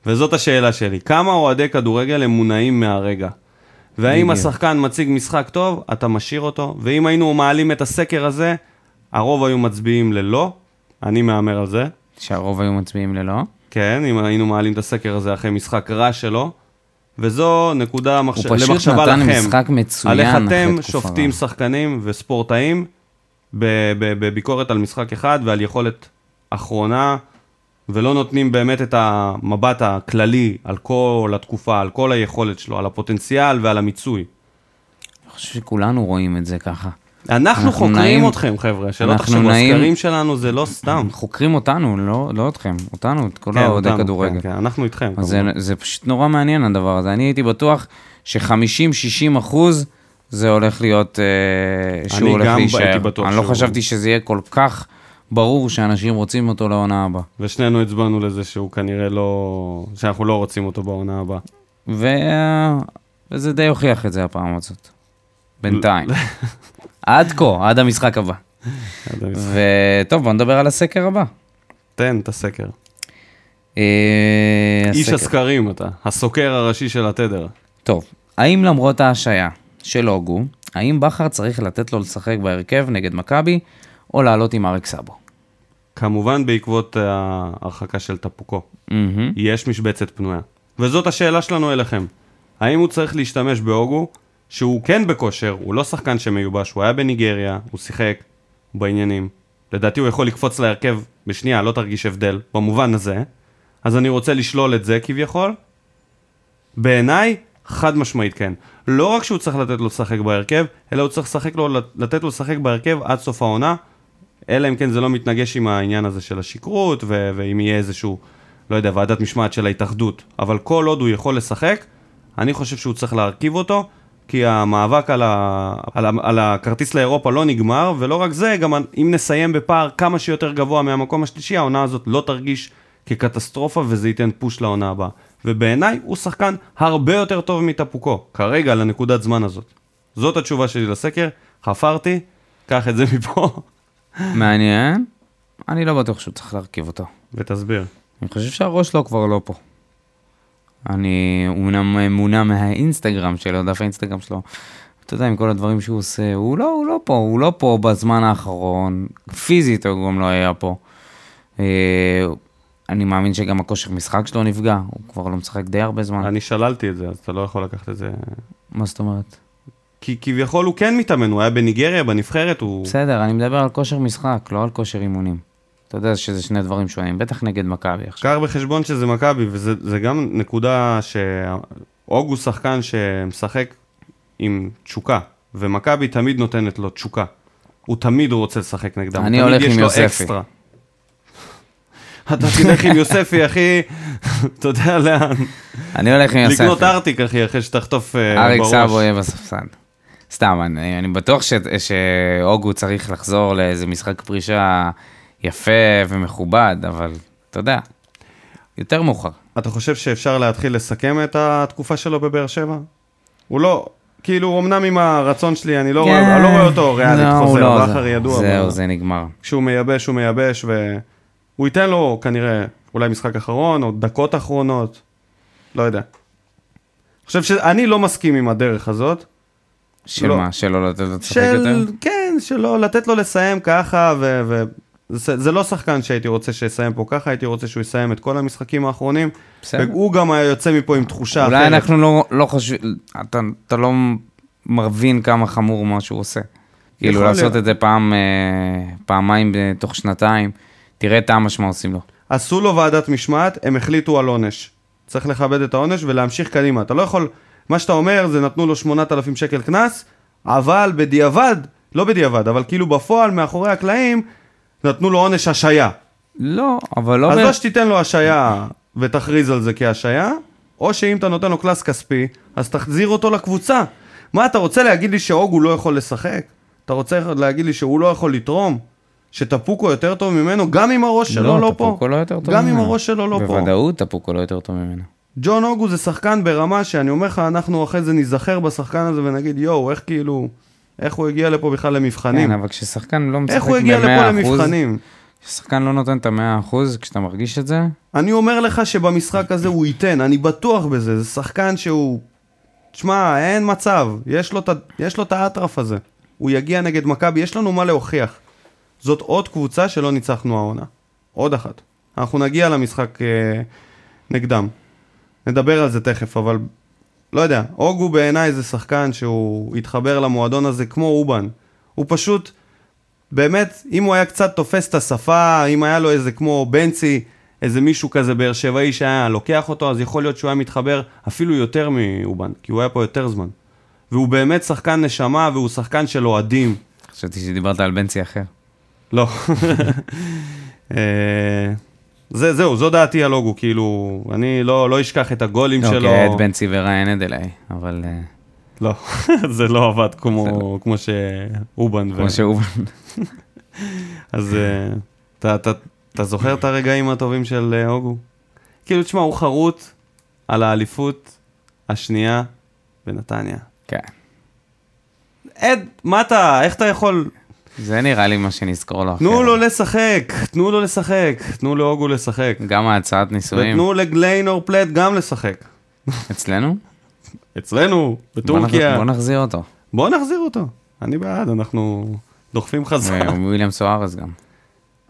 וזאת השאלה שלי, כמה אוהדי כדורגל הם מונעים מהרגע? והאם בדיוק. השחקן מציג משחק טוב, אתה משאיר אותו, ואם היינו מעלים את הסקר הזה, הרוב היו מצביעים ללא, אני מהמר על זה, שהרוב היו מצביעים ללא. כן, אם היינו מעלים את הסקר הזה אחרי משחק רע שלו, וזו נקודה מחש... הוא פשוט למחשבה נתן לכם. משחק מצוין על איך אחרי אתם תקופה שופטים רעה. שחקנים וספורטאים ב- ב- בביקורת על משחק אחד ועל יכולת אחרונה, ולא נותנים באמת את המבט הכללי על כל התקופה, על כל היכולת שלו, על הפוטנציאל ועל המיצוי. אני חושב שכולנו רואים את זה ככה. אנחנו, אנחנו חוקרים נעים- אתכם, חבר'ה, שלא אנחנו תחשבו, נעים- הסקרים שלנו זה לא סתם. חוקרים אותנו, לא, לא אתכם, אותנו, את כל האוהדי אותנו, כן, כדורגל. כן, אנחנו איתכם. לא, אז זה, כמובן. זה פשוט נורא מעניין הדבר הזה. אני הייתי בטוח ש-50-60 אחוז זה הולך להיות, אה, שהוא אני הולך גם להישאר. הייתי בטוח אני לא שהוא- חשבתי שזה יהיה כל כך ברור שאנשים רוצים אותו לעונה הבאה. ושנינו הצבענו לזה שהוא כנראה לא... שאנחנו לא רוצים אותו בעונה הבאה. ו... וזה די הוכיח את זה הפעם הזאת. בינתיים. עד כה, עד המשחק הבא. אז אני- וטוב, בוא נדבר על הסקר הבא. תן את הסקר. אה, איש הסקר. הסקרים אתה, הסוקר הראשי של התדר. טוב, האם למרות ההשעיה של הוגו, האם בכר צריך לתת לו לשחק בהרכב נגד מכבי, או לעלות עם אריק סאבו? כמובן בעקבות ההרחקה של טפוקו. מהמם. יש משבצת פנויה. וזאת השאלה שלנו אליכם. האם הוא צריך להשתמש בהוגו, שהוא כן בכושר, הוא לא שחקן שמיובש, הוא היה בניגריה, הוא שיחק, הוא בעניינים. לדעתי הוא יכול לקפוץ להרכב בשנייה, לא תרגיש הבדל, במובן הזה. אז אני רוצה לשלול את זה כביכול. בעיניי, חד משמעית כן. לא רק שהוא צריך לתת לו לשחק בהרכב, אלא הוא צריך לשחק לו, לתת לו לשחק בהרכב עד סוף העונה, אלא אם כן זה לא מתנגש עם העניין הזה של השכרות, ו- ואם יהיה איזשהו, לא יודע, ועדת משמעת של ההתאחדות. אבל כל עוד הוא יכול לשחק, אני חושב שהוא צריך להרכיב אותו, כי המאבק על, ה- על, ה- על הכרטיס לאירופה לא נגמר, ולא רק זה, גם אם נסיים בפער כמה שיותר גבוה מהמקום השלישי, העונה הזאת לא תרגיש כקטסטרופה, וזה ייתן פוש לעונה הבאה. ובעיניי הוא שחקן הרבה יותר טוב מטפוקו, כרגע, לנקודת זמן הזאת. זאת התשובה שלי לסקר, חפרתי, קח את זה מפה. מעניין. אני לא בטוח שהוא צריך להרכיב אותו. ותסביר. אני חושב שהראש שלו כבר לא פה. אני אומנם מונע מהאינסטגרם שלו, דף האינסטגרם שלו. אתה יודע, עם כל הדברים שהוא עושה, הוא לא, הוא לא פה, הוא לא פה בזמן האחרון. פיזית הוא גם לא היה פה. אה, אני מאמין שגם הכושר משחק שלו נפגע, הוא כבר לא משחק די הרבה זמן. אני שללתי את זה, אז אתה לא יכול לקחת את זה. מה זאת אומרת? כי כביכול הוא כן מתאמן, הוא היה בניגריה, בנבחרת, הוא... בסדר, אני מדבר על כושר משחק, לא על כושר אימונים. אתה יודע שזה שני דברים שונים, בטח נגד מכבי עכשיו. קח בחשבון שזה מכבי, וזה זה גם נקודה ש... אוג הוא שחקן שמשחק עם תשוקה, ומכבי תמיד נותנת לו תשוקה. הוא תמיד רוצה לשחק נגדם, הוא אני תמיד הולך יש עם לו יוספי. אקסטרה. אתה תלך עם יוספי, אחי, אתה יודע לאן. אני הולך עם יוספי. לקנות ארטיק, אחי, אחרי שתחטוף אה, בראש. אריק סאבו יהיה בספסל. סתם, אני, אני בטוח ש- שהוגו צריך לחזור לאיזה משחק פרישה יפה ומכובד, אבל אתה יודע, יותר מאוחר. אתה חושב שאפשר להתחיל לסכם את התקופה שלו בבאר שבע? הוא לא, כאילו, אמנם עם הרצון שלי, אני לא, רואה, אני לא רואה אותו ריאלית כן. לא, הוא חוזר, לא, בכר זה- ידוע. זהו, אבל לא. זה נגמר. כשהוא מייבש, הוא מייבש, והוא ייתן לו כנראה אולי משחק אחרון, או דקות אחרונות, לא יודע. אני חושב שאני לא מסכים עם הדרך הזאת, של לא. מה? שלא לתת לו לשחק יותר? של, כן, שלא, לתת לו לסיים ככה, ו... ו... זה, זה לא שחקן שהייתי רוצה שיסיים פה ככה, הייתי רוצה שהוא יסיים את כל המשחקים האחרונים. בסדר. הוא גם היה יוצא מפה עם תחושה אולי אחרת. אנחנו לא, לא חושבים, אתה, אתה לא מבין כמה חמור מה שהוא עושה. כאילו, יכול לעשות להיות. את זה פעם, אה, פעמיים אה, תוך שנתיים, תראה את העם מה עושים לו. עשו לו ועדת משמעת, הם החליטו על עונש. צריך לכבד את העונש ולהמשיך קדימה. אתה לא יכול, מה שאתה אומר זה נתנו לו 8,000 שקל קנס, אבל בדיעבד, לא בדיעבד, אבל כאילו בפועל, מאחורי הקלעים, נתנו לו עונש השעיה. לא, אבל לא... אז ב- או שתיתן לו השעיה ותכריז על זה כהשעיה, או שאם אתה נותן לו קלאס כספי, אז תחזיר אותו לקבוצה. מה, אתה רוצה להגיד לי שאוגו לא יכול לשחק? אתה רוצה להגיד לי שהוא לא יכול לתרום? שטפוקו יותר טוב ממנו, גם אם הראש שלו לא, פה. טפוקו לא יותר טוב גם ממנו. אם הראש שלו לא פה. בוודאות טפוקו לא יותר טוב ממנו. ג'ון אוגו זה שחקן ברמה שאני אומר לך, אנחנו אחרי זה ניזכר בשחקן הזה ונגיד, יואו, איך כאילו, איך הוא הגיע לפה בכלל למבחנים? כן, אבל כששחקן לא משחק ב-100%, איך הוא הגיע לפה למבחנים? כששחקן לא נותן את ה-100%, כשאתה מרגיש את זה, אני אומר לך שבמשחק הזה הוא ייתן, אני בטוח בזה, זה שחקן שהוא... תשמע, אין מצב, יש לו את ה- יש לו את האטרף הזה. הוא יגיע נגד מכבי, יש לנו מה להוכיח. זאת עוד קבוצה שלא ניצחנו העונה. עוד אחת. אנחנו נגיע למשחק אה, נגדם. נדבר על זה תכף, אבל לא יודע, אוגו בעיניי זה שחקן שהוא התחבר למועדון הזה כמו אובן. הוא פשוט, באמת, אם הוא היה קצת תופס את השפה, אם היה לו איזה כמו בנצי, איזה מישהו כזה באר שבעי שהיה לוקח אותו, אז יכול להיות שהוא היה מתחבר אפילו יותר מאובן, כי הוא היה פה יותר זמן. והוא באמת שחקן נשמה, והוא שחקן של אוהדים. חשבתי שדיברת על בנצי אחר. לא. אה, זה, זהו, זו דעתי על אוגו, כאילו, אני לא, לא אשכח את הגולים לא, שלו. כי היה את בנצי וריין אליי, אבל אה, לא, זה לא עבד כמו, כמו שאובן. ו- כמו שהוא... אז אה, אתה- אתה- אתה זוכר את הרגעים הטובים של אה, הוגו? כאילו, תשמע, הוא חרוט על האליפות השנייה בנתניה. כן. עד, מה אתה, איך אתה יכול? זה נראה לי מה שנזכור לו. תנו אחרת. לו לשחק, תנו לו לשחק, תנו להוגו לשחק. גם ההצעת נישואים ותנו לגליינור פלט גם לשחק. אצלנו? אצלנו, בטורקיה. בוא נח- בוא נחזיר אותו. בוא נחזיר אותו. אני בעד, אנחנו דוחפים אה, חזק. וויליאם סוארז גם.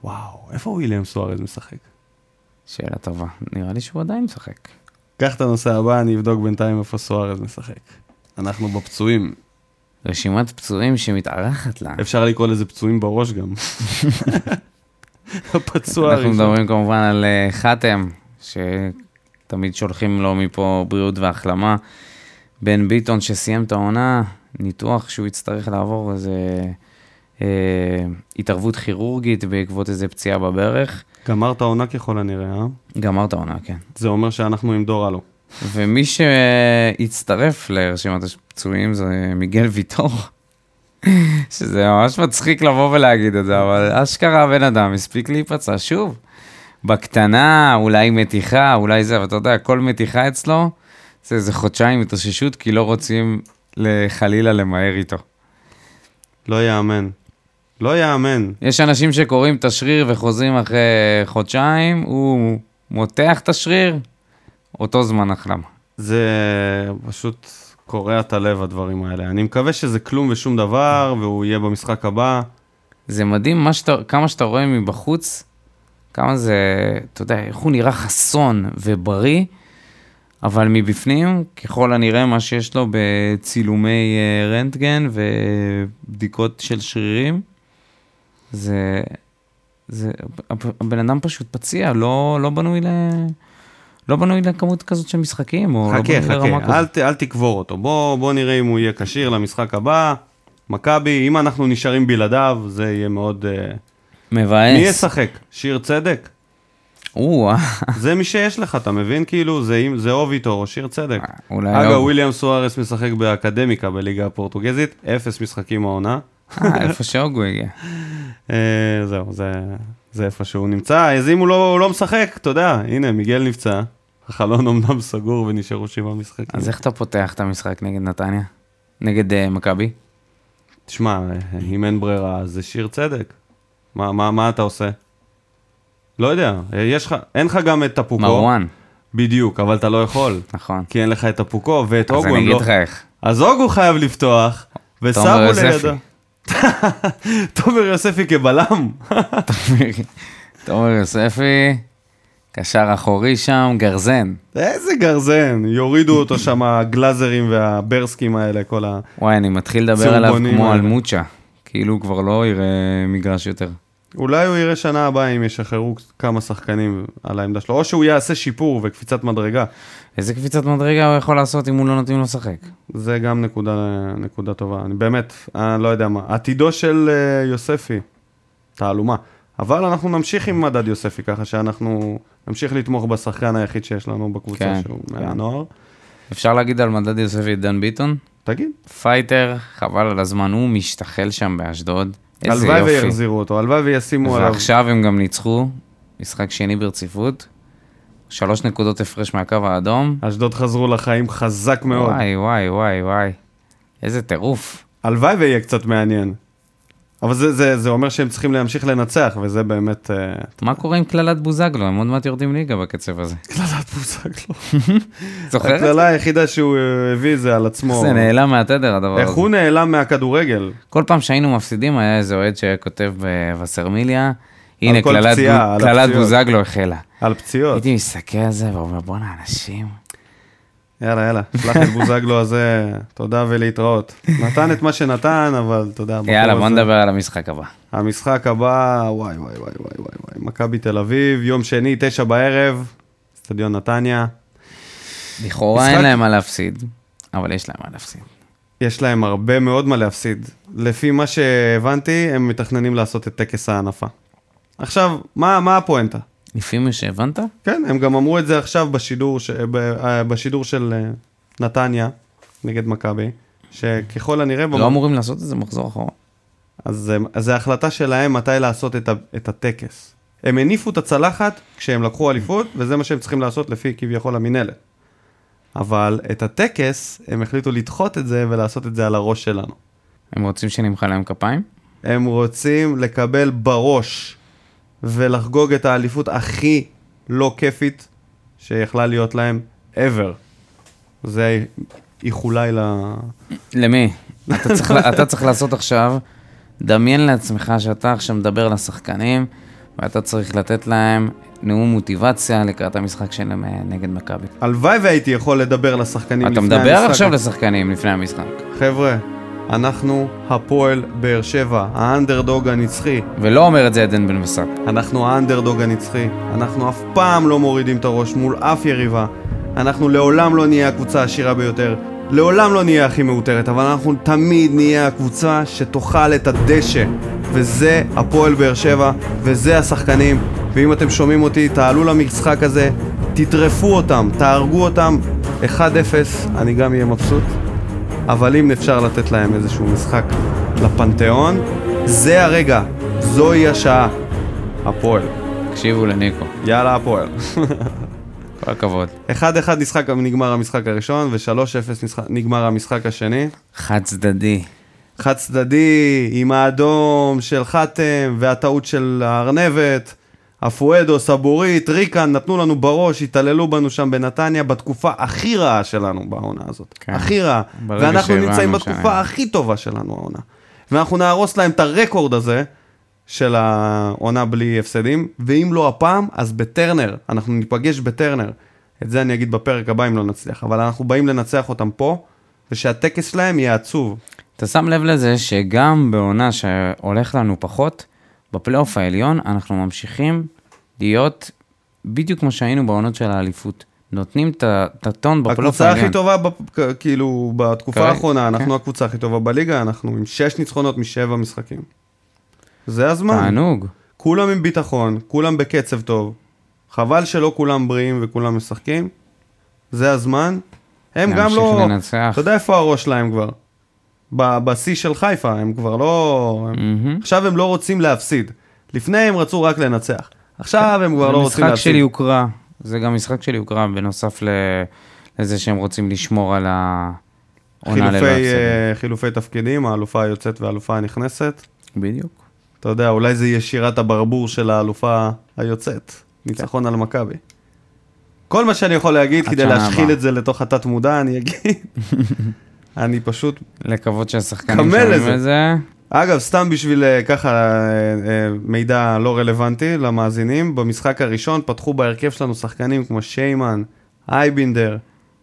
וואו, איפה וויליאם סוארז משחק? שאלה טובה. נראה לי שהוא עדיין משחק. קח את הנושא הבא, אני אבדוק בינתיים איפה סוארז משחק. אנחנו בפצועים. רשימת פצועים שמתארחת לה. אפשר לקרוא לזה פצועים בראש גם. הפצוע אנחנו הראשון. מדברים כמובן על אה, חתם, שתמיד שולחים לו מפה בריאות והחלמה. בן ביטון שסיים את העונה, ניתוח שהוא יצטרך לעבור איזה אה, התערבות כירורגית בעקבות איזה פציעה בברך. גמר את העונה ככל הנראה, אה? גמר את העונה, כן. זה אומר שאנחנו עם דור הלו. ומי שהצטרף לרשימת הפצועים זה מיגל ויטור, שזה ממש מצחיק לבוא ולהגיד את זה, אבל אשכרה הבן אדם הספיק להיפצע שוב. בקטנה, אולי מתיחה, אולי זה, אבל אתה יודע, כל מתיחה אצלו זה איזה חודשיים התאוששות, כי לא רוצים חלילה למהר איתו. לא יאמן. לא יאמן. יש אנשים שקוראים את השריר וחוזרים אחרי חודשיים, הוא מותח את השריר, אותו זמן החלמה. זה פשוט קורע את הלב הדברים האלה. אני מקווה שזה כלום ושום דבר, והוא יהיה במשחק הבא. זה מדהים מה שאתה, כמה שאתה רואה מבחוץ, כמה זה, אתה יודע, איך הוא נראה חסון ובריא, אבל מבפנים, ככל הנראה מה שיש לו בצילומי אה, רנטגן ובדיקות של שרירים, זה, זה, הב- הבן אדם פשוט פציע, לא, לא בנוי ל... לא בנוי לכמות כזאת של משחקים, או לא חכה, בנוי לרמה חכה, אל, כזאת. ת- אל תקבור אותו. בוא, בוא נראה אם הוא יהיה כשיר למשחק הבא. מכבי, אם אנחנו נשארים בלעדיו, זה יהיה מאוד... אה, מי מבאס. ישחק? שיר צדק? או, אה, זה מי שיש לך, אתה מבין? כאילו, זה, אם- זה או ויטור או שיר צדק. אולי אגב, לא. וויליאם סוארס משחק באקדמיקה בליגה הפורטוגזית, אפס משחקים העונה. אה, איפה שהוגו הגיע. אה, זהו, זה, זה איפה שהוא נמצא. אז אם הוא לא, הוא לא משחק, אתה יודע, הנה, מיגל נפצע. החלון אמנם סגור ונשארו שבעה משחקים. אז איך אתה פותח את המשחק נגד נתניה? נגד אה, מכבי? תשמע, אה, אם אין ברירה, אז זה שיר צדק. מה, מה, מה אתה עושה? לא יודע, אה, יש לך, אין לך גם את טפוקו. מרואן, בדיוק, אבל אתה לא יכול. נכון. כי אין לך את טפוקו ואת אז אוגו, אני הם לא... אגיד לך איך. אז אוגו חייב לפתוח, ושמו תומר יוספי. לידו. תומר יוספי כבלם. תומר יוספי, קשר אחורי שם, גרזן. איזה גרזן, יורידו אותו שם הגלאזרים והברסקים האלה, כל ה... וואי, אני מתחיל לדבר עליו צהובונים אה. כמו האלה. על מוצ'ה. כאילו הוא כבר לא יראה מגרש יותר. אולי הוא יראה שנה הבאה אם ישחררו כמה שחקנים על העמדה שלו, או שהוא יעשה שיפור וקפיצת מדרגה. איזה קפיצת מדרגה הוא יכול לעשות אם הוא לא נותנים לו לשחק? זה גם נקודה, נקודה טובה. אני באמת, אני לא יודע מה. עתידו של אה, יוספי, תעלומה. אבל אנחנו נמשיך עם מדד יוספי, ככה שאנחנו נמשיך לתמוך בשחקן היחיד שיש לנו בקבוצה, כן, שהוא כן. מהנוער. אפשר להגיד על מדד יוספי את דן ביטון? תגיד, פייטר, חבל על הזמן, הוא משתחל שם באשדוד. איזה הלוואי יופי. ויחזירו אותו, הלוואי וישימו עליו. ועכשיו הם גם ניצחו, משחק שני ברציפות, שלוש נקודות הפרש מהקו האדום. אשדוד חזרו לחיים חזק מאוד. וואי, וואי, וואי, וואי. איזה טירוף. הלוואי ויהיה קצת מעניין. אבל זה, זה, זה אומר שהם צריכים להמשיך לנצח, וזה באמת... אה, מה קורה עם קללת בוזגלו? הם עוד מעט יורדים ליגה בקצב הזה. קללת בוזגלו. זוכרת? לא. הקללה היחידה שהוא אה, הביא זה על עצמו. זה נעלם מהתדר הדבר איך הזה. הוא נעלם מהכדורגל? כל פעם שהיינו מפסידים היה איזה אוהד שהיה כותב בווסרמיליה, הנה כל קללת פציעה, בו- על קללת הפציעות." לא. בוזגלו החלה. על פציעות. הייתי מסתכל על זה ואומר בואנה אנשים. יאללה, יאללה, שלח את בוזגלו הזה, תודה ולהתראות. נתן את מה שנתן, אבל תודה. הבחור יאללה בוא הזה- נדבר על המשחק הבא. המשחק הבא, וואי וואי וואי וואי וואי, מכבי תל אביב, יום שני, תשע בערב, אצטדיון נתניה. לכאורה משחק- אין להם מה להפסיד, אבל יש להם מה להפסיד. יש להם הרבה מאוד מה להפסיד. לפי מה שהבנתי, הם מתכננים לעשות את טקס ההנפה. עכשיו, מה, מה הפואנטה? לפי מה שהבנת? כן, הם גם אמרו את זה עכשיו בשידור, ש... ב... אה, בשידור של אה, נתניה נגד מכבי, שככל הנראה... לא אמורים לעשות את זה מחזור אחרון. אז זה- אז זו החלטה שלהם מתי לעשות את, ה... את הטקס. הם הניפו את הצלחת כשהם לקחו אליפות, וזה מה שהם צריכים לעשות לפי כביכול המינהלת. אבל את הטקס, הם החליטו לדחות את זה ולעשות את זה על הראש שלנו. הם רוצים שנמחא להם כפיים? הם רוצים לקבל בראש ולחגוג את האליפות הכי לא כיפית שיכלה להיות להם ever. זה איחולי ל... למי? אתה צריך, אתה צריך לעשות עכשיו, דמיין לעצמך שאתה עכשיו מדבר לשחקנים, ואתה צריך לתת להם נאום מוטיבציה לקראת המשחק שלהם אה, נגד מכבי. הלוואי והייתי יכול לדבר לשחקנים אתה לפני מדבר המשחק. עכשיו לשחקנים לפני המשחק, חבר'ה, אנחנו הפועל באר שבע, האנדרדוג הנצחי. ולא אומר את זה עדן בן בסט. אנחנו האנדרדוג הנצחי. אנחנו אף פעם לא מורידים את הראש מול אף יריבה. אנחנו לעולם לא נהיה הקבוצה העשירה ביותר. לעולם לא נהיה הכי מאותרת, אבל אנחנו תמיד נהיה הקבוצה שתאכל את הדשא. וזה הפועל באר שבע, וזה השחקנים. ואם אתם שומעים אותי, תעלו למשחק הזה, תטרפו אותם, תהרגו אותם. 1-0, אני גם אהיה מבסוט. אבל אם אפשר לתת להם איזשהו משחק לפנתיאון, זה הרגע, זוהי השעה. הפועל. תקשיבו לניקו, יאללה הפועל. כל הכבוד. 1-1 נשחק, נגמר המשחק הראשון, ו-3-0 נשחק- נגמר המשחק השני. חד צדדי. חד צדדי, עם האדום של חתם, והטעות של הארנבת, אפואדו, סבורית, ריקן, נתנו לנו בראש, התעללו בנו שם בנתניה, בתקופה הכי רעה שלנו בעונה הזאת. כן. כן. הכי רעה. ברגע ואנחנו שהבנו נמצאים שה- בתקופה הכי טובה שלנו העונה. ואנחנו נהרוס להם את הרקורד הזה. של העונה בלי הפסדים, ואם לא הפעם, אז בטרנר, אנחנו ניפגש בטרנר. את זה אני אגיד בפרק הבא אם לא נצליח, אבל אנחנו באים לנצח אותם פה, ושהטקס שלהם יהיה עצוב. אתה שם לב לזה שגם בעונה שהולך לנו פחות, בפלייאוף העליון אנחנו ממשיכים להיות בדיוק כמו שהיינו בעונות של האליפות. נותנים את ה- את הטון בפלייאוף הקבוצה העליון. הכי טובה, בפ- כ- כאילו, בתקופה כרגע, האחרונה, כן. אנחנו הקבוצה הכי טובה בליגה, אנחנו עם 6 ניצחונות משבע משחקים. זה הזמן. תענוג. כולם עם ביטחון, כולם בקצב טוב. חבל שלא כולם בריאים וכולם משחקים. זה הזמן. הם גם להמשיך לא... לנצח. אתה יודע איפה הראש שלהם כבר? ב- בשיא של חיפה, הם כבר לא... הם- מהמם. עכשיו הם לא רוצים להפסיד. לפני הם רצו רק לנצח. עכשיו הם כבר לא רוצים המשחק של להפסיד. יוקרה, זה גם משחק של יוקרה, בנוסף ל- לזה שהם רוצים לשמור על העונה ללא חילופי, הפסדים. אה, חילופי תפקידים, האלופה היוצאת והאלופה הנכנסת. בדיוק. אתה יודע, אולי זה יהיה שירת הברבור של האלופה היוצאת, ניצחון על מכבי. כל מה שאני יכול להגיד עד כדי שנה להשחיל הבאה. את זה לתוך התת מודע, אני אגיד. אני פשוט... לקוות שהשחקנים קמל שומעים לזה. את זה. אגב, סתם בשביל אה, ככה אה, אה, מידע לא רלוונטי למאזינים, במשחק הראשון פתחו בהרכב שלנו שחקנים כמו שיימן, אייבינדר,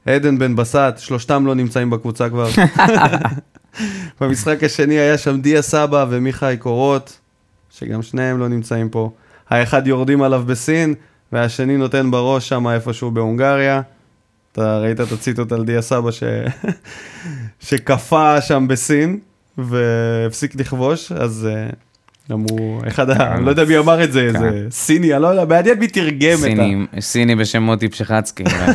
עדן בן בסט, שלושתם לא נמצאים בקבוצה כבר. במשחק השני היה שם דיה סבא ומיכאי קורות, שגם שניהם לא נמצאים פה. האחד יורדים עליו בסין, והשני נותן בראש שם איפשהו בהונגריה. אתה ראית את הציטוט על דיה סבא ש... שקפא שם בסין והפסיק לכבוש, אז אה, אמרו, אחד ה... אני לא יודע מי אמר את זה, כן. איזה סיני, אני לא יודע, מעניין מי תרגם את ה... סיני, סיני בשם מוטי פשחצקי. אולי.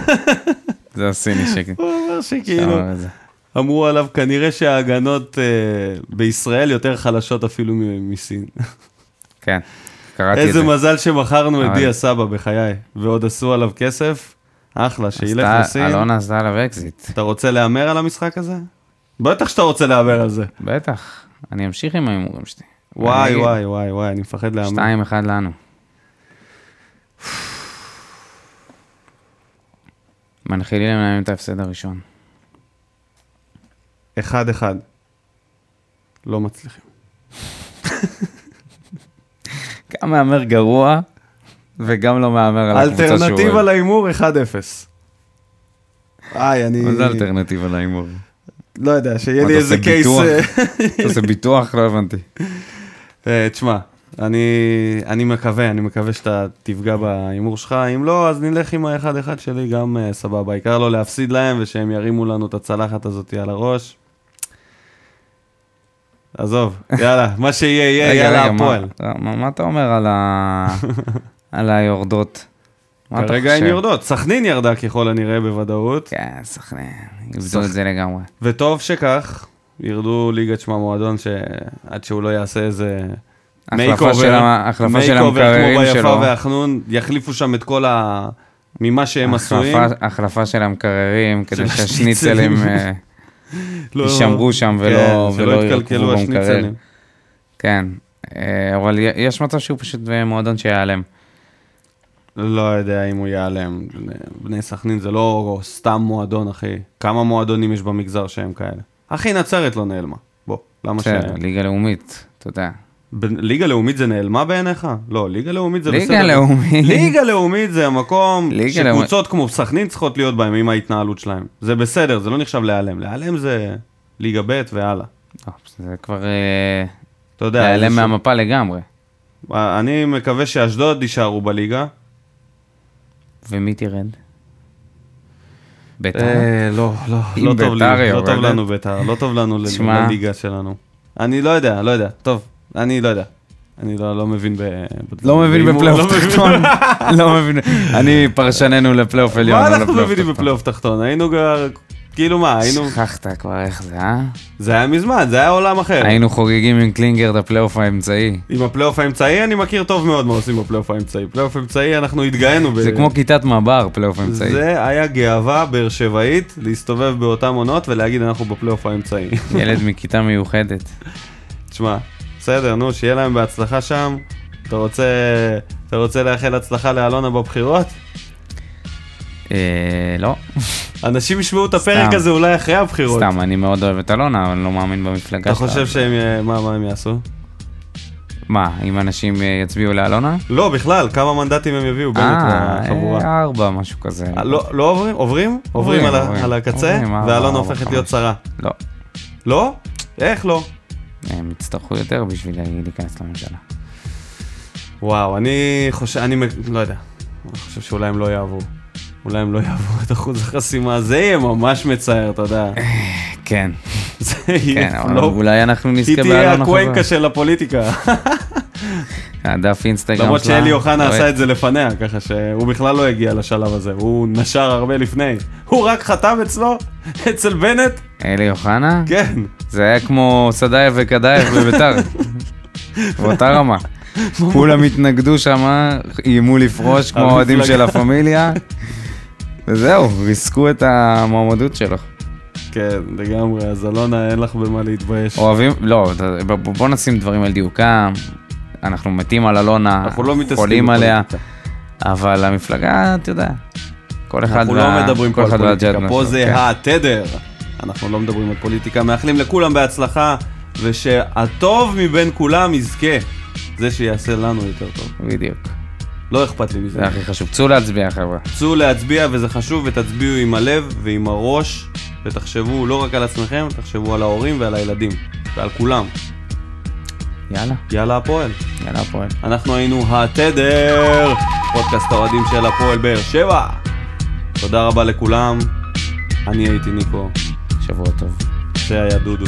זה הסיני שכן. הוא אומר שכאילו, שאמר את זה. אמרו עליו כנראה שההגנות אה, בישראל יותר חלשות אפילו מ- מסין. כן, קראתי את זה. איזה מזל שמכרנו את אבל- דיה סבא בחיי, ועוד עשו עליו כסף, אחלה, שילך עשתה- לסין. אלונה עשתה עליו אקזיט. אתה רוצה להמר על המשחק הזה? בטח שאתה רוצה להמר על זה. בטח, אני אמשיך עם ההימורים שלי. וואי אני- וואי וואי וואי, אני מפחד להמר. 2-1 לנו. מנחילים להם את ההפסד הראשון. אחד אחד. לא מצליחים. גם מהמר גרוע, וגם לא מהמר על הקבוצה שהוא אוהב. אלטרנטיבה להימור 1-0. איי, אני מה זה אלטרנטיבה להימור? לא יודע, שיהיה מה, לי אתה איזה עושה קייס... ביטוח? אה, אתה עושה ביטוח? לא הבנתי. כן, אה, תשמע, אני, אני מקווה, אני מקווה שאתה תפגע בהימור שלך, אם לא, אז נלך עם האחד אחד שלי גם אה, סבבה, העיקר לא להפסיד להם ושהם ירימו לנו את הצלחת הזאת על הראש. עזוב, יאללה, מה שיהיה יהיה, רגע, יאללה רגע, מה- הפועל. מה מה אתה אומר על ה... על היורדות? מה אתה כרגע הן חושב? יורדות, סכנין ירדה ככל הנראה בוודאות, כן, סכנין, איבדו את זה לגמרי. וטוב שכך, ירדו ליגת שמע מועדון שעד שהוא לא יעשה איזה... החלפה makeover, של ה- החלפה של makeover המקררים כמו ביפה שלו. והחנון, יחליפו שם את כל ה... ממה שהם עשויים. החלפה- החלפה של המקררים, של כדי השניצלים. שהשניצלים אה, לא- יישמרו כן, שם ולא שלא ולא יתקלקלו ירכבו במקרר. השניצלים. כן, אה, אבל י- יש מצב שהוא פשוט במועדון שיעלם. לא יודע אם הוא ייעלם. בני סכנין זה לא סתם מועדון, אחי. כמה מועדונים יש במגזר שהם כאלה? אחי, נצרת לא נעלמה. בוא, למה ש... בסדר, ליגה לאומית, אתה יודע. ב- ליגה לאומית זה נעלמה בעיניך? לא, ליגה לאומית זה ליגה בסדר. לאומית. ליגה לאומית זה המקום ליגה שקבוצות כמו סכנין צריכות להיות בהם עם ההתנהלות שלהם. זה בסדר, זה לא נחשב להיעלם. להיעלם זה ליגה ב' והלאה. לא, זה כבר אה, אתה יודע, להיעלם איזשהו- מהמפה לגמרי. אני מקווה שאשדוד יישארו בליגה. ומי תרד? ביתר? אה, לא, לא, אם לא טוב לי, ביתר לא טוב יורדת. לנו ביתר, לא טוב לנו ל- תשמע. לליגה שלנו. אני לא יודע, לא יודע, טוב, אני לא יודע. אני לא לא מבין ב... לא מבין בהימור, בפלייאוף לא מבין- תחתון. לא מבין. אני פרשננו לפלייאוף עליון. מה לא אנחנו לפלייאוף מבינים תחתון. בפלייאוף תחתון? היינו כבר... כאילו מה, היינו... שכחת כבר איך זה, אה? זה היה מזמן, זה היה עולם אחר. היינו חוגגים עם קלינגר את הפלייאוף האמצעי. עם הפלייאוף האמצעי אני מכיר טוב מאוד מה עושים בפלייאוף האמצעי. פלייאוף אמצעי אנחנו התגאינו. ב- זה כמו כיתת מב"ר, פלייאוף אמצעי. זה היה גאווה באר שבעית להסתובב באותן עונות ולהגיד אנחנו בפלייאוף האמצעי. ילד מכיתה מיוחדת. תשמע, בסדר, נו, שיהיה להם בהצלחה שם. אתה רוצה, אתה רוצה לאחל הצלחה לאלונה בבחירות? אה, לא, אנשים ישמעו את הפרק סתם. הזה אולי אחרי הבחירות. סתם, אני מאוד אוהב את אלונה, אבל אני לא מאמין במפלגה אתה שלה. חושב שהם, אה, מה, מה הם יעשו? מה, אם אנשים אה, יצביעו לאלונה? לא, בכלל, כמה מנדטים הם יביאו באמת אה, לחבורה. אה, ארבע, משהו כזה. אה, לא לא עוברים? עוברים? עוברים על ה- עוברים. על הקצה, עוברים, אה, ואלונה ארבע, הופכת חמש. להיות שרה. לא, לא? איך לא? הם יצטרכו יותר בשביל להיכנס לממשלה. וואו, אני חושב, אני מק- לא יודע. אני חושב שאולי הם לא יעברו. אולי הם לא יעברו את אחוז החסימה, זה יהיה ממש מצער, אתה יודע. כן, זה יהיה כן, אבל פלופ. אולי אנחנו היא נזכה לא- תהיה באלונה הקוונקה חזרה. של הפוליטיקה. הדף אינסטגרם שלה. למרות שאלי אוחנה לא עשה יהיה- את זה לפניה, ככה שהוא בכלל לא הגיע לשלב הזה, הוא נשר הרבה לפני. הוא רק חתם אצלו, אצל בנט, אלי אוחנה? כן. זה היה כמו סדאייב וקדאייב בביתר. באותה רמה. כולם התנגדו שמה, איימו לפרוש כמו האוהדים של המפלגה. לה פמיליה, וזהו, ריסקו את המועמדות שלו. כן, לגמרי, אז אלונה, אין לך במה להתבייש. אוהבים, לא, ת- ב- ב- בוא נשים דברים על דיוקם, אנחנו מתים על אלונה, אנחנו לא מתעסקים חולים עליה, בפוליטיקה. אבל המפלגה, אתה יודע, כל אחד אנחנו לא מדברים פה כל על אחד פוליטיקה, והאג'נדה פה שלו, זה כן. התדר. אנחנו לא מדברים על פוליטיקה, מאחלים לכולם בהצלחה, ושהטוב מבין כולם יזכה. זה שיעשה לנו יותר טוב. בדיוק, לא אכפת לי מזה. זה הכי חשוב. צאו להצביע, חבר'ה. צאו להצביע וזה חשוב ותצביעו עם הלב ועם הראש ותחשבו לא רק על עצמכם, תחשבו על ההורים ועל הילדים, ועל כולם. יאללה, יאללה הפועל. יאללה הפועל. אנחנו היינו התדר, פודקאסט האוהדים של הפועל באר שבע. תודה רבה לכולם, אני הייתי ניקו, שבוע טוב. זה היה דודו.